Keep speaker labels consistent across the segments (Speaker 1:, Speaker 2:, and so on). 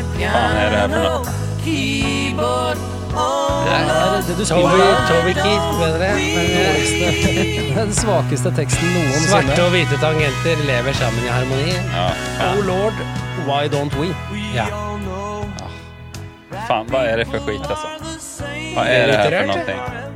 Speaker 1: er det her for noe?
Speaker 2: Det er det du spiller.
Speaker 3: Toby-
Speaker 2: da.
Speaker 3: Toby Keith, bedre.
Speaker 2: Dårligste- Den svakeste teksten noensinne.
Speaker 3: Svarte og hvite tangenter lever sammen i harmoni.
Speaker 1: Ja,
Speaker 2: Oh
Speaker 1: faen.
Speaker 2: lord, why don't we?
Speaker 3: Ja.
Speaker 1: faen, hva er det for skit, altså? Hva er det her for
Speaker 3: Litterært,
Speaker 1: noe?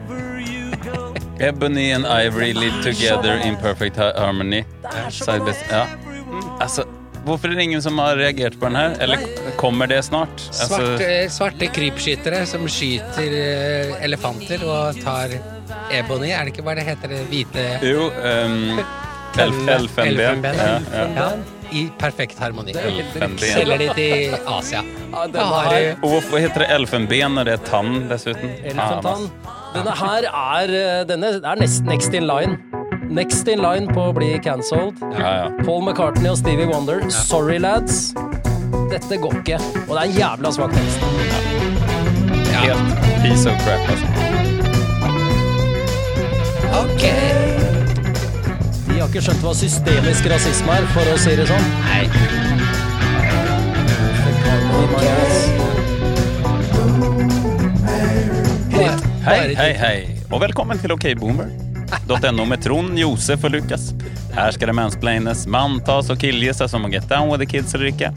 Speaker 1: Ebony and Ivory live together in perfect ha- harmony. Side by side-
Speaker 3: ah.
Speaker 1: Ja.
Speaker 3: Mm.
Speaker 1: Altså, hvorfor er det ingen som har reagert på den her? Eller kommer det snart? Altså,
Speaker 3: Svarte, svarte krypskyttere som skyter eh, elefanter og tar ebony. Er det ikke hva det heter? Det hvite
Speaker 1: jo, um, elf, elfenben.
Speaker 3: elfenben?
Speaker 1: Ja, ja.
Speaker 3: Ja, I perfekt harmoni.
Speaker 1: Elfenben.
Speaker 3: Selger de til Asia.
Speaker 2: Ja, den
Speaker 3: Da har
Speaker 2: her-
Speaker 3: du
Speaker 1: Og hvorfor heter det elfenben når det er tann dessuten? Faen,
Speaker 2: Elefantan.
Speaker 1: altså.
Speaker 2: Denne her er, eh, denne er nesten next in line. Next in line på å bli cancelled.
Speaker 1: Ja, ja.
Speaker 2: Paul McCartney og Stevie Wonder. Sorry, lads. Dette går ikke. Og det er en jævla svak tekst.
Speaker 3: ja.
Speaker 1: Helt piece of crap, altså.
Speaker 3: Ok.
Speaker 2: De har ikke skjønt hva systemisk rasisme er, for å si det sånn.
Speaker 3: Nei.
Speaker 1: Hei,
Speaker 3: Bare
Speaker 1: hei, hei, og velkommen til okboomer.no med Trond, Josef og Lukas. Her skal det mansplaines, manntas og killgisses om å get down with the kids og drikke.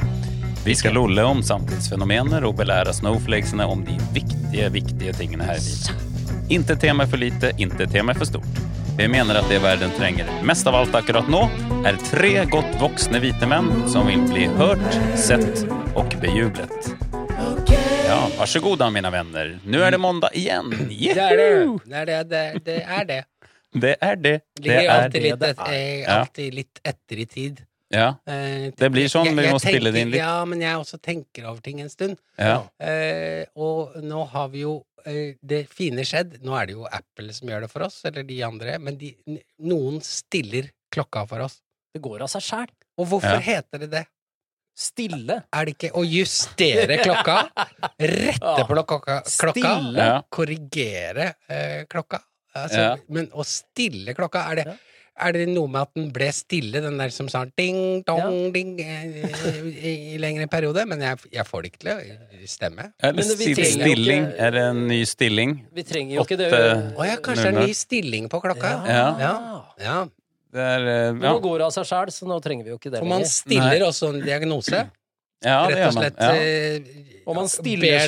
Speaker 1: Vi skal lolle om samtidsfenomener og belære snowflakesene om de viktige, viktige tingene her i livet. Inte tema for lite, inte tema for stort. Vi mener at det verden trenger mest av alt akkurat nå, er tre godt voksne hvite menn som vil bli hørt, sett og bejublet. Ja, vær så god da, mine venner. Nå er det mandag igjen.
Speaker 3: Det er det. Det er det. Det, det, er det.
Speaker 1: Det er det. Det
Speaker 3: Ligger jo
Speaker 1: er
Speaker 3: alltid, litt, et, eh,
Speaker 1: Ja.
Speaker 3: alltid litt etter i tid.
Speaker 1: Ja.
Speaker 3: Eh,
Speaker 1: Det blir sånn, vi må spille det inn litt.
Speaker 3: Ja, men jeg også tenker over ting en stund.
Speaker 1: ja.
Speaker 3: Eh, og nå har vi jo eh, det fine skjedd. Nå er det jo Apple som gjør det for oss, eller de andre, men de, n- noen stiller klokka for oss.
Speaker 2: Det går av seg sjæl.
Speaker 3: Og hvorfor
Speaker 1: Ja.
Speaker 3: heter det det?
Speaker 2: Stille.
Speaker 3: Er det ikke å justere klokka? Rette på klokka? klokka
Speaker 2: Stille.
Speaker 1: Ja.
Speaker 3: Korrigere eh, klokka? Altså,
Speaker 1: Ja.
Speaker 3: Men å stille klokka, er det
Speaker 2: Ja.
Speaker 3: Er det noe med at den ble stille, den der som sa ding, dong,
Speaker 2: Ja.
Speaker 3: ding, eh, i, i lengre periode? Men jeg, jeg får det ikke til å stemme.
Speaker 1: Eller
Speaker 2: Men vi
Speaker 1: sti-
Speaker 2: trenger jo
Speaker 1: stilling.
Speaker 2: ikke-
Speaker 1: Er det en ny stilling?
Speaker 2: Vi trenger jo ikke det.
Speaker 1: Åtte.
Speaker 3: Å ja, kanskje det er en ny stilling på klokka?
Speaker 1: Ja.
Speaker 3: ja. ja.
Speaker 1: Det er eh,
Speaker 2: Men
Speaker 1: Ja,
Speaker 2: Nå går det av seg sjæl, så nå trenger vi jo ikke det
Speaker 3: For man
Speaker 2: lenger.
Speaker 3: stiller også en diagnose.
Speaker 1: ja det
Speaker 3: rett
Speaker 1: gjør
Speaker 3: og
Speaker 1: man.
Speaker 3: slett.
Speaker 1: Ja.
Speaker 3: eh,
Speaker 2: Og man stiller-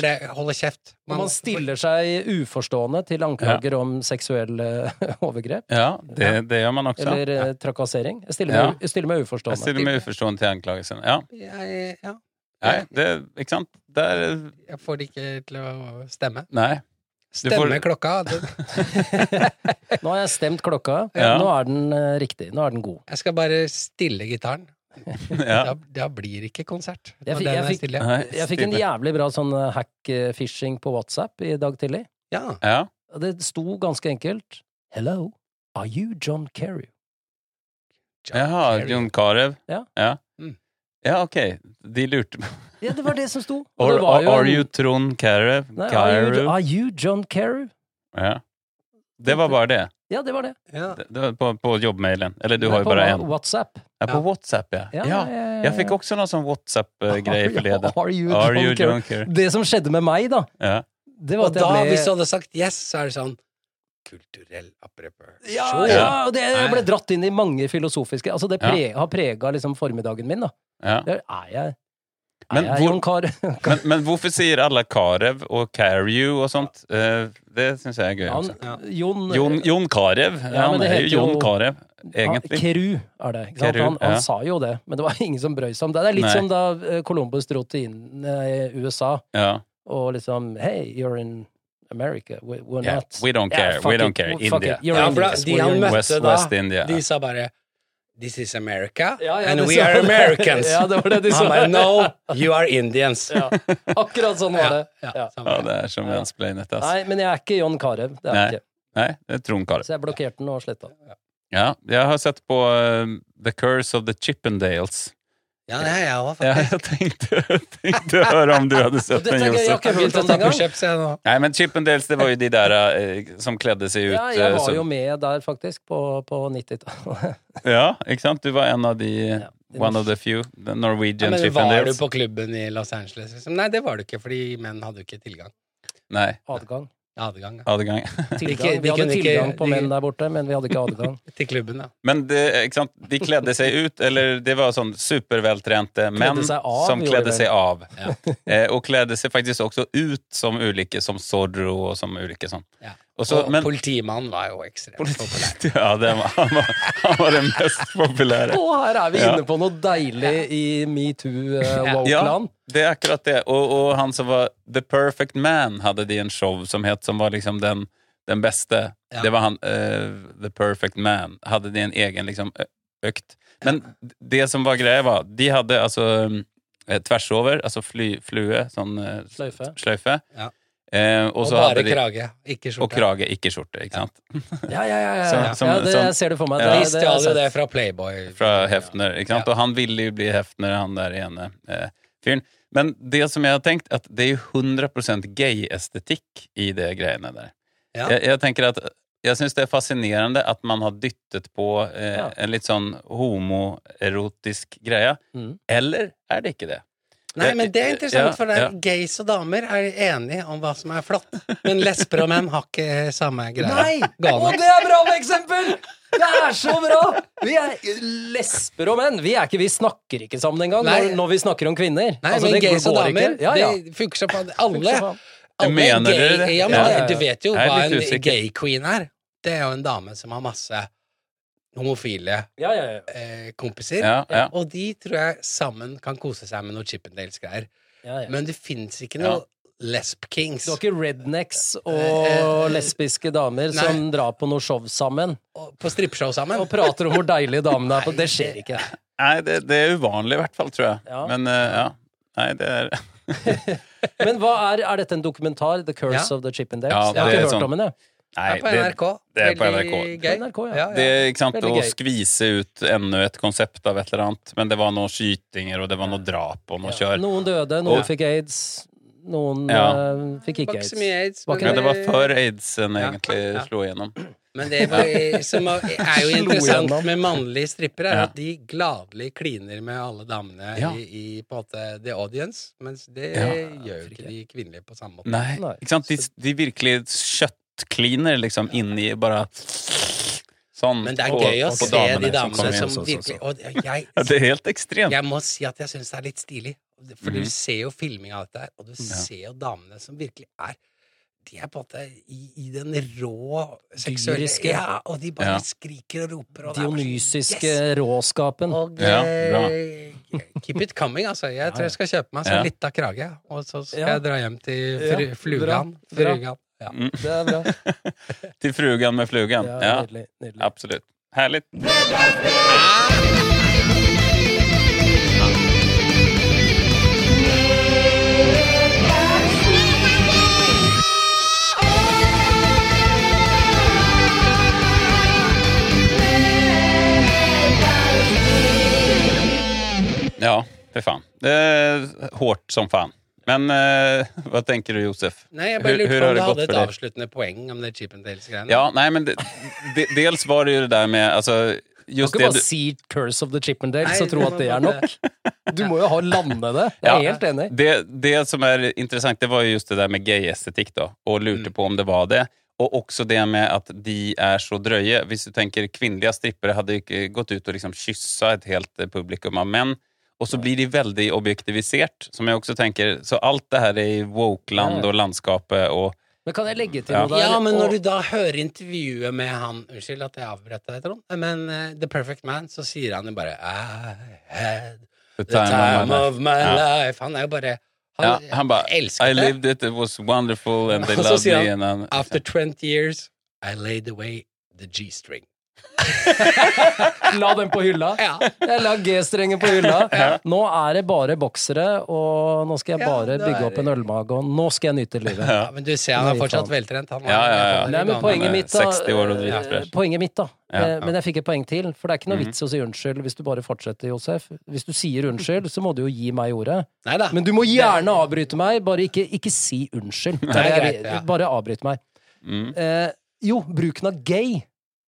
Speaker 3: Ber det holde kjeft.
Speaker 2: Og man stiller seg uforstående til anklager om seksuell eh, overgrep.
Speaker 1: ja det, det gjør man også.
Speaker 2: Eller eh, trakassering. Jeg stiller meg, jeg stiller meg
Speaker 1: Jeg
Speaker 2: uforstående.
Speaker 1: stiller meg uforstående til anklagelsen. Ja.
Speaker 3: Jeg, ja,
Speaker 1: Nei, det Ikke sant? Det er
Speaker 3: jeg får det ikke til å stemme.
Speaker 1: Nei. Du får-
Speaker 3: Stemme klokka. Det,
Speaker 2: Nå har jeg stemt klokka.
Speaker 1: Ja.
Speaker 2: Nå er den eh, riktig. Nå er den god.
Speaker 3: jeg skal bare stille gitaren.
Speaker 1: Ja.
Speaker 3: Da, da blir det ikke konsert.
Speaker 2: Jeg
Speaker 3: Når
Speaker 2: fikk-
Speaker 3: den
Speaker 2: jeg
Speaker 3: er
Speaker 2: fikk-
Speaker 3: stille.
Speaker 1: Nei,
Speaker 2: Jeg fikk en
Speaker 1: stille.
Speaker 2: jævlig bra sånn eh, hack-fishing på WhatsApp i dag tidlig.
Speaker 3: Ja.
Speaker 1: Ja.
Speaker 2: Og Det sto ganske enkelt Hello, are you John Kerry?
Speaker 1: Jaha,
Speaker 3: Carrey.
Speaker 1: Jon Carew.
Speaker 2: Ja.
Speaker 1: Ja.
Speaker 3: Mm.
Speaker 1: Ja, ok. De lurte på
Speaker 2: Ja, det var det som sto. Og
Speaker 1: Or-
Speaker 2: det var jo
Speaker 1: Are
Speaker 2: en-
Speaker 1: you Trond Carew?
Speaker 2: Nei, are, you,
Speaker 1: Carew?
Speaker 2: are you John Kerry?
Speaker 1: Ja. Det var bare det.
Speaker 2: Ja, det var det.
Speaker 3: Ja.
Speaker 1: Det- det var på, på jobbmailen. Eller du
Speaker 2: Nei,
Speaker 1: har jo
Speaker 2: på
Speaker 1: bare én.
Speaker 2: WhatsApp.
Speaker 1: Ja, på WhatsApp, ja.
Speaker 2: Ja,
Speaker 1: ja,
Speaker 2: ja, ja, ja.
Speaker 1: Jeg fikk også noen sånn WhatsApp-greie forleden.
Speaker 2: Are you
Speaker 1: Are
Speaker 2: John
Speaker 1: you
Speaker 2: Kerry?
Speaker 1: junker?
Speaker 2: Det som skjedde med meg, da,
Speaker 1: Ja.
Speaker 2: det var
Speaker 3: Og
Speaker 2: at
Speaker 3: da,
Speaker 2: jeg ble sånn,
Speaker 3: hvis du hadde sagt yes, så er det sånn Kulturell appropriasjon.
Speaker 2: ja, ja, og det, jeg ble
Speaker 3: Nei.
Speaker 2: dratt inn i mange filosofiske Altså, det
Speaker 1: Ja.
Speaker 2: pre, har prega liksom formiddagen min, da.
Speaker 1: Ja.
Speaker 2: Der er jeg Er
Speaker 1: Men
Speaker 2: jeg
Speaker 1: hvor-
Speaker 2: John Kar...
Speaker 1: Men, men hvorfor sier alle Karev og Carew og sånt? Eh, det syns jeg er gøy. altså.
Speaker 2: Han,
Speaker 1: Også.
Speaker 2: Jon, eh,
Speaker 1: Jon, Jon Carew.
Speaker 2: Ja,
Speaker 1: han
Speaker 2: men det
Speaker 1: er jo
Speaker 2: heter
Speaker 1: Jon
Speaker 2: jo-
Speaker 1: Carew,
Speaker 2: Ja,
Speaker 1: egentlig.
Speaker 2: Keru er det. Ikke sant?
Speaker 1: Keru,
Speaker 2: han han
Speaker 1: ja.
Speaker 2: sa jo det, men det var ingen som brøy seg om det. Det er litt
Speaker 1: Nei.
Speaker 2: som da eh, Columbus dro til inn, eh, USA
Speaker 1: Ja.
Speaker 2: og liksom Hey, you're in America. We, we're
Speaker 1: Yeah,
Speaker 2: not
Speaker 1: we don't care.
Speaker 2: Yeah,
Speaker 1: We
Speaker 2: fuck
Speaker 1: don't
Speaker 2: it.
Speaker 1: care.
Speaker 2: Fuck
Speaker 1: India.
Speaker 2: it. You're
Speaker 3: Ja, for da-
Speaker 2: Indians.
Speaker 3: de
Speaker 2: We're
Speaker 3: han
Speaker 2: Indians.
Speaker 3: møtte
Speaker 1: West,
Speaker 3: da,
Speaker 1: West India.
Speaker 3: De sa bare This is America,
Speaker 2: Ja, ja,
Speaker 3: and
Speaker 2: det
Speaker 3: we
Speaker 2: sa
Speaker 3: are
Speaker 2: han.
Speaker 3: Americans.
Speaker 2: Ja, det var det de sa.
Speaker 3: Han bare No, you are Indians.
Speaker 2: Ja, akkurat sånn var det. Ja.
Speaker 1: Ja, det er som mansplainet, ass.
Speaker 2: Nei, men jeg er ikke John Carew. Det er
Speaker 1: Nei.
Speaker 2: jeg ikke.
Speaker 1: Nei, det er Trond Carew.
Speaker 2: Så jeg blokkerte den og sletta den.
Speaker 1: Ja, jeg har sett på eh, The Curse of the Chippendales.
Speaker 3: Ja, det er jeg òg,
Speaker 1: Ja,
Speaker 3: faktisk.
Speaker 1: jeg tenkte, tenkte å høre om du hadde sett
Speaker 2: Dette
Speaker 1: den,
Speaker 2: er gøy, jeg
Speaker 1: Josef.
Speaker 2: har ikke hørt
Speaker 3: Begynte å
Speaker 2: den
Speaker 3: ta
Speaker 2: engang.
Speaker 3: pushups, jeg nå.
Speaker 1: Nei, men Chippendales, det var jo de der eh, som kledde seg ut.
Speaker 2: Ja, jeg
Speaker 1: eh,
Speaker 2: var
Speaker 1: som-
Speaker 2: jo med der, faktisk, på, på 90-tallet.
Speaker 1: Ja, ikke sant? Du var en av de
Speaker 2: Ja.
Speaker 1: One of the few. The Norwegian
Speaker 3: Ja, men
Speaker 1: Chief and
Speaker 3: var du
Speaker 1: Dales.
Speaker 3: på klubben i Los Angeles? Liksom? Nei, det var du ikke, fordi menn hadde jo ikke tilgang.
Speaker 1: Nei,
Speaker 2: Adgang.
Speaker 3: Adgang ja.
Speaker 1: adgang.
Speaker 3: ikke-
Speaker 2: Tilgang.
Speaker 3: de
Speaker 2: Vi hadde
Speaker 3: kunne ikke-
Speaker 2: tilgang på
Speaker 3: de-
Speaker 2: menn der borte, men vi hadde ikke adgang.
Speaker 3: til klubben, ja.
Speaker 1: Men det, ikke sant? de kledde seg ut, eller det var sånn superveltrente menn
Speaker 2: seg av,
Speaker 1: som
Speaker 2: gjorde
Speaker 1: kledde
Speaker 2: de.
Speaker 1: seg av. Eh, og kledde seg faktisk også ut som ulike, som Sodro og som ulike sånn.
Speaker 3: ja.
Speaker 1: Og så,
Speaker 3: og
Speaker 1: men,
Speaker 3: politimannen var jo ekstremt populær.
Speaker 1: ja, den var, han, var, han var den mest populære.
Speaker 2: Og her er vi
Speaker 1: Ja.
Speaker 2: inne på noe deilig i eh, metoo-wow-plan.
Speaker 1: det er akkurat det. Og, og han som var The Perfect Man, hadde de en show som het, som var liksom den, den beste.
Speaker 3: Ja.
Speaker 1: Det var han, eh, The Perfect Man. Hadde de en egen liksom ø- økt. Men det som var greia, var De hadde altså eh, tvers over, altså fly, flue, sånn eh,
Speaker 2: Sløyfe.
Speaker 1: sløyfe.
Speaker 3: Ja.
Speaker 1: Eh, og
Speaker 3: Og
Speaker 1: så hadde
Speaker 3: bare
Speaker 1: de
Speaker 3: krage, ikke
Speaker 1: Og
Speaker 3: skjorte.
Speaker 1: krage, ikke skjorte, ikke sant?
Speaker 2: Ja, ja, ja. ja, ja.
Speaker 1: Som- som-
Speaker 2: ja det,
Speaker 1: som-
Speaker 2: jeg ser det for meg.
Speaker 1: Ja.
Speaker 3: De
Speaker 2: Det, det,
Speaker 3: stjal jo
Speaker 2: det,
Speaker 3: det fra Playboy.
Speaker 1: Fra Hefner, ikke sant? Og han ville jo bli Hefner, han der ene eh, fyren. Men det som jeg har tenkt, at det er jo 100 gay-estetikk i det greiene der.
Speaker 3: Ja.
Speaker 1: Jeg, jeg tenker at jeg syns det er fascinerende at man har dyttet på eh,
Speaker 2: Ja.
Speaker 1: en litt sånn homoerotisk greie.
Speaker 2: Mm.
Speaker 1: Eller er det ikke det?
Speaker 3: Nei, men det er interessant,
Speaker 1: Ja,
Speaker 3: for det er
Speaker 1: ja.
Speaker 3: gays og damer er enige om hva som er flott. Men lesber og menn har ikke samme greia.
Speaker 2: Nei! Og det er bra med eksempel! Det er så bra! Vi er lesber og menn. Vi, er ikke, vi snakker ikke sammen engang når,
Speaker 3: Nei.
Speaker 2: når vi snakker om kvinner.
Speaker 3: Nei,
Speaker 2: Altså,
Speaker 3: men
Speaker 2: det
Speaker 3: gays og
Speaker 2: går ikke.
Speaker 3: damer,
Speaker 2: Ja, ja.
Speaker 3: det funker som faen.
Speaker 2: Funker
Speaker 3: Alle,
Speaker 2: som faen.
Speaker 3: alle
Speaker 1: Mener
Speaker 3: gay,
Speaker 1: dere det?
Speaker 3: Ja, men
Speaker 2: Ja, ja,
Speaker 3: det-
Speaker 2: ja.
Speaker 3: Du vet jo
Speaker 1: Jeg er
Speaker 3: hva
Speaker 1: litt
Speaker 3: en
Speaker 1: usikker.
Speaker 3: gay queen er. Det er jo en dame som har masse homofile
Speaker 2: Ja, ja, ja.
Speaker 3: eh, kompiser.
Speaker 1: Ja, ja.
Speaker 3: Og de tror jeg sammen kan kose seg med noe Chippendales-greier.
Speaker 2: ja, ja.
Speaker 3: Men det fins ikke noe lesb kings.
Speaker 2: Du har ikke rednecks
Speaker 3: Eh, eh,
Speaker 2: og lesbiske
Speaker 3: nei.
Speaker 2: damer som drar på noe show sammen
Speaker 3: Og- På strippeshow sammen.
Speaker 2: og prater om hvor deilige damene er. på- Det skjer ikke.
Speaker 1: Nei, det, det er uvanlig i hvert fall, tror jeg.
Speaker 2: Ja.
Speaker 1: Men eh, ja. Nei, det er
Speaker 2: Men hva er, er dette en dokumentar? The Curse
Speaker 3: Ja.
Speaker 2: of the Chippendales?
Speaker 1: Ja,
Speaker 2: jeg har
Speaker 1: det er
Speaker 2: ikke hørt
Speaker 1: sånn-
Speaker 2: om den, jeg.
Speaker 1: Nei,
Speaker 3: Det er på NRK.
Speaker 1: det er på
Speaker 3: Veldig
Speaker 1: NRK.
Speaker 3: Gøy.
Speaker 2: På NRK, ja.
Speaker 1: Det er ikke sant,
Speaker 2: Veldig
Speaker 1: å
Speaker 2: gøy.
Speaker 1: skvise ut enda et konsept av et eller annet. Men det var noen skytinger, og det var noe drap og noe kjør.
Speaker 2: Noen døde, noen
Speaker 1: Og-
Speaker 2: fikk aids, noen
Speaker 1: Ja.
Speaker 2: eh, fikk ikke
Speaker 3: Var ikke
Speaker 2: aids.
Speaker 3: så mye aids,
Speaker 2: Var
Speaker 3: men-
Speaker 2: ikke
Speaker 1: Ja,
Speaker 2: det-
Speaker 1: det var før aidsen
Speaker 3: Ja,
Speaker 1: egentlig
Speaker 3: ja.
Speaker 1: slo igjennom.
Speaker 3: Men det var, som er jo
Speaker 2: Slo
Speaker 3: interessant
Speaker 2: gjennom.
Speaker 3: med mannlige strippere, er
Speaker 1: Ja.
Speaker 3: at de gladelig kliner med alle damene
Speaker 1: Ja.
Speaker 3: i, i på en måte the audience, mens det
Speaker 1: Ja.
Speaker 3: gjør jo ikke de kvinnelige på samme måte.
Speaker 1: Nei,
Speaker 2: Nei.
Speaker 1: ikke sant? De, de virkelig kjøttkliner liksom inni bare Sånn.
Speaker 3: Men det er
Speaker 1: på-
Speaker 3: gøy å
Speaker 1: på
Speaker 3: se
Speaker 1: damene
Speaker 3: de
Speaker 1: som kommer
Speaker 3: damene
Speaker 1: inn.
Speaker 3: som
Speaker 4: så, så, så.
Speaker 3: virkelig Og jeg,
Speaker 1: sånn. ja, Mhm. Det er helt ekstremt.
Speaker 3: jeg må si at jeg syns det er litt stilig. For du ser jo filming av dette her, og du ser jo damene som virkelig er De er på en måte i, i den rå seksuelle
Speaker 2: Dyriske.
Speaker 3: Ja, og de bare
Speaker 1: Ja.
Speaker 3: skriker og roper. Og det er bare sånn,
Speaker 2: Dionysiske
Speaker 3: yes!
Speaker 2: råskapen.
Speaker 3: Og
Speaker 1: Ja,
Speaker 3: eh, keep it coming, altså. Jeg tror jeg skal kjøpe meg
Speaker 1: Ja.
Speaker 3: sånn lita krage, og så skal
Speaker 2: Ja.
Speaker 3: jeg dra hjem til
Speaker 2: Ja,
Speaker 3: fru,
Speaker 2: bra,
Speaker 3: flugan.
Speaker 2: bra.
Speaker 3: Frugan. Ja.
Speaker 1: Mm.
Speaker 2: Det er bra.
Speaker 1: Til frugan med flugan.
Speaker 2: Det er
Speaker 1: Ja,
Speaker 2: Nydelig. nydelig.
Speaker 1: absolutt. Herlig. Ja, for faen. Det er hårt som faen. Men eh, hva tenker du, Josef?
Speaker 3: Nei, jeg
Speaker 1: Hur-
Speaker 3: bare lurte
Speaker 1: hur
Speaker 3: på
Speaker 1: har
Speaker 3: om
Speaker 1: det
Speaker 3: du
Speaker 1: gått
Speaker 3: hadde et
Speaker 1: for deg?
Speaker 3: avsluttende poeng om det Chip and Dales-greiene.
Speaker 1: Ja, nei, men det, de, dels var det jo det der med altså,
Speaker 2: Du
Speaker 1: just
Speaker 2: kan
Speaker 1: det
Speaker 2: ikke bare
Speaker 1: du,
Speaker 2: si Curse of the Chippendales
Speaker 3: Nei,
Speaker 2: og tro
Speaker 3: det
Speaker 2: at
Speaker 3: var
Speaker 2: det er
Speaker 3: bare-
Speaker 2: nok. Du må jo ha lande det. Jeg er
Speaker 1: Ja.
Speaker 2: helt enig.
Speaker 1: det, det som er interessant, det var jo just det der med gay-estetikk, da, og lurte
Speaker 3: Mm.
Speaker 1: på om det var det. Og også det med at de er så drøye. Hvis du tenker kvinnelige strippere hadde jo ikke gått ut og liksom kyssa et helt eh, publikum av menn. Og så blir de veldig objektivisert, som jeg også tenker. Så alt det her i woke-land og landskapet og
Speaker 2: Men kan jeg legge til
Speaker 1: Ja.
Speaker 2: noe der?
Speaker 3: Ja, men
Speaker 2: Og-
Speaker 3: når du da hører intervjuet med han Unnskyld at jeg avbrøt deg, Trond, men eh, The Perfect Man, så sier han jo bare I had
Speaker 1: The
Speaker 3: the
Speaker 1: of
Speaker 3: time of my
Speaker 1: Ja.
Speaker 3: life. Han er jo bare
Speaker 1: ja,
Speaker 3: Han,
Speaker 1: Han bare I
Speaker 3: elsker det.
Speaker 1: lived it, it was wonderful, and they
Speaker 3: Og så
Speaker 1: loved
Speaker 3: sier
Speaker 1: me.
Speaker 3: han,
Speaker 1: and han-
Speaker 3: After 20 years, I laid away the G-string.
Speaker 2: La den på hylla.
Speaker 3: Ja.
Speaker 2: Jeg la G-strengen på hylla. Nå er det bare boksere, og nå skal jeg
Speaker 3: Ja,
Speaker 2: bare
Speaker 3: det
Speaker 2: bygge
Speaker 3: er-
Speaker 2: opp en ølmage, og nå skal jeg nyte livet.
Speaker 3: Ja, men du ser han er
Speaker 2: Nei,
Speaker 3: fortsatt
Speaker 2: faen.
Speaker 3: veltrent. Han var-
Speaker 1: Ja, ja, ja.
Speaker 3: han var
Speaker 2: Nei, men
Speaker 3: gammel.
Speaker 2: poenget
Speaker 1: er
Speaker 2: mitt, da
Speaker 1: 60 år og
Speaker 2: eh,
Speaker 1: dritfresh.
Speaker 2: Poenget mitt da
Speaker 1: Ja, Mhm.
Speaker 2: eh, Men jeg fikk et poeng til, for det er ikke noe vits i å si unnskyld hvis du bare fortsetter, Josef. Hvis du sier unnskyld, så må du jo gi meg ordet.
Speaker 3: Nei da.
Speaker 2: Men du må gjerne avbryte meg, bare ikke, ikke si unnskyld.
Speaker 3: Nei,
Speaker 2: Det er-
Speaker 3: greit, ja.
Speaker 2: Bare avbryt meg.
Speaker 1: Mm,
Speaker 2: Eh, jo, bruken av gay,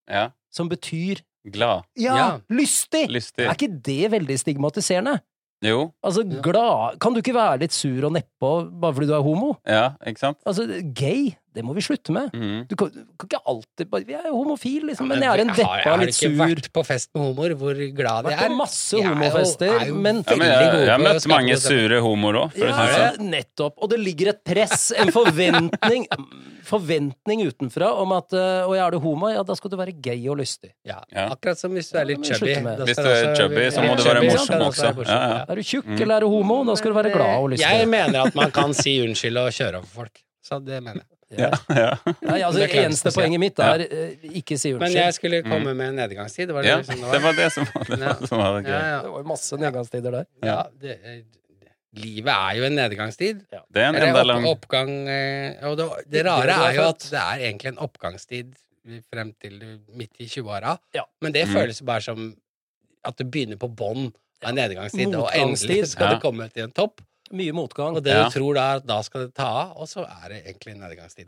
Speaker 1: ja.
Speaker 2: som betyr
Speaker 1: Glad.
Speaker 2: Ja,
Speaker 3: Ja.
Speaker 2: lystig.
Speaker 1: Lystig.
Speaker 2: Er ikke det veldig stigmatiserende?
Speaker 1: Jo.
Speaker 2: Altså,
Speaker 3: Ja.
Speaker 2: glad Kan du ikke være litt sur og nedpå bare fordi du er homo?
Speaker 1: Ja, ikke sant?
Speaker 2: Altså, gay, det må vi slutte med.
Speaker 1: Mhm.
Speaker 2: Du kan, du kan ikke alltid bare Vi er jo homofil, liksom,
Speaker 3: Men
Speaker 2: men jeg er en
Speaker 3: har-
Speaker 2: deppa, litt
Speaker 3: Jeg har ikke
Speaker 2: sur
Speaker 3: vært på fest med homoer hvor glad de
Speaker 2: Vært
Speaker 3: er.
Speaker 2: på masse
Speaker 3: Jeg er jo-
Speaker 2: homofester,
Speaker 3: er jo
Speaker 2: men-
Speaker 1: Ja, men
Speaker 3: veldig
Speaker 1: jeg,
Speaker 3: gode
Speaker 1: jeg har
Speaker 3: på å
Speaker 1: møtt
Speaker 3: skape
Speaker 1: mange
Speaker 3: gode stemmer.
Speaker 1: sure homoer òg.
Speaker 2: ja,
Speaker 1: sånn.
Speaker 2: nettopp. Og det ligger et press, en forventning Forventning utenfra om at eh, Og jeg er du homo, ja, da skal du være gay og lystig.
Speaker 3: Ja,
Speaker 1: Ja.
Speaker 3: akkurat som hvis du er
Speaker 2: Ja,
Speaker 3: litt
Speaker 2: men
Speaker 3: chubby.
Speaker 2: slutt med.
Speaker 3: da
Speaker 1: Hvis
Speaker 3: skal
Speaker 1: du er
Speaker 3: også-
Speaker 1: chubby, så
Speaker 2: må
Speaker 3: chubby,
Speaker 2: du være
Speaker 3: så
Speaker 2: morsom
Speaker 3: skal du
Speaker 1: også.
Speaker 3: være morsom,
Speaker 1: Ja, ja.
Speaker 2: Er du tjukk eller er du homo, da skal du være glad og lystig.
Speaker 3: Jeg mener at man kan si unnskyld og kjøre over folk. Så det mener jeg.
Speaker 1: Ja, sånn. ja.
Speaker 2: Nei, altså,
Speaker 3: Det er klart,
Speaker 2: eneste
Speaker 3: spesielt.
Speaker 2: poenget mitt er eh, ikke si
Speaker 3: Men
Speaker 2: unnskyld.
Speaker 3: jeg skulle komme med en nedgangstid. Var det
Speaker 1: ja,
Speaker 3: liksom
Speaker 1: det var det som var, det var, det som var
Speaker 3: Ja,
Speaker 1: gøy.
Speaker 3: ja.
Speaker 2: Det var jo masse nedgangstider der.
Speaker 1: Ja.
Speaker 3: Ja, det, eh, livet er jo en nedgangstid.
Speaker 1: Det er en
Speaker 3: Eller
Speaker 1: enda
Speaker 3: opp,
Speaker 1: lang
Speaker 3: oppgang eh, Og det, det
Speaker 2: Det
Speaker 3: rare
Speaker 2: du har
Speaker 3: er jo at
Speaker 2: fått.
Speaker 3: det er egentlig en oppgangstid frem til du- midt i 20-åra,
Speaker 2: Ja.
Speaker 3: men det
Speaker 1: Mm.
Speaker 3: føles bare som at du begynner på bånn av en nedgangstid, og
Speaker 2: Motgangstid.
Speaker 3: endelig skal
Speaker 1: Ja.
Speaker 3: du komme til en topp.
Speaker 2: Mye motgang.
Speaker 3: Og det
Speaker 1: Ja.
Speaker 3: du tror da, er at da skal det ta av, og så er det egentlig en nedgangstid.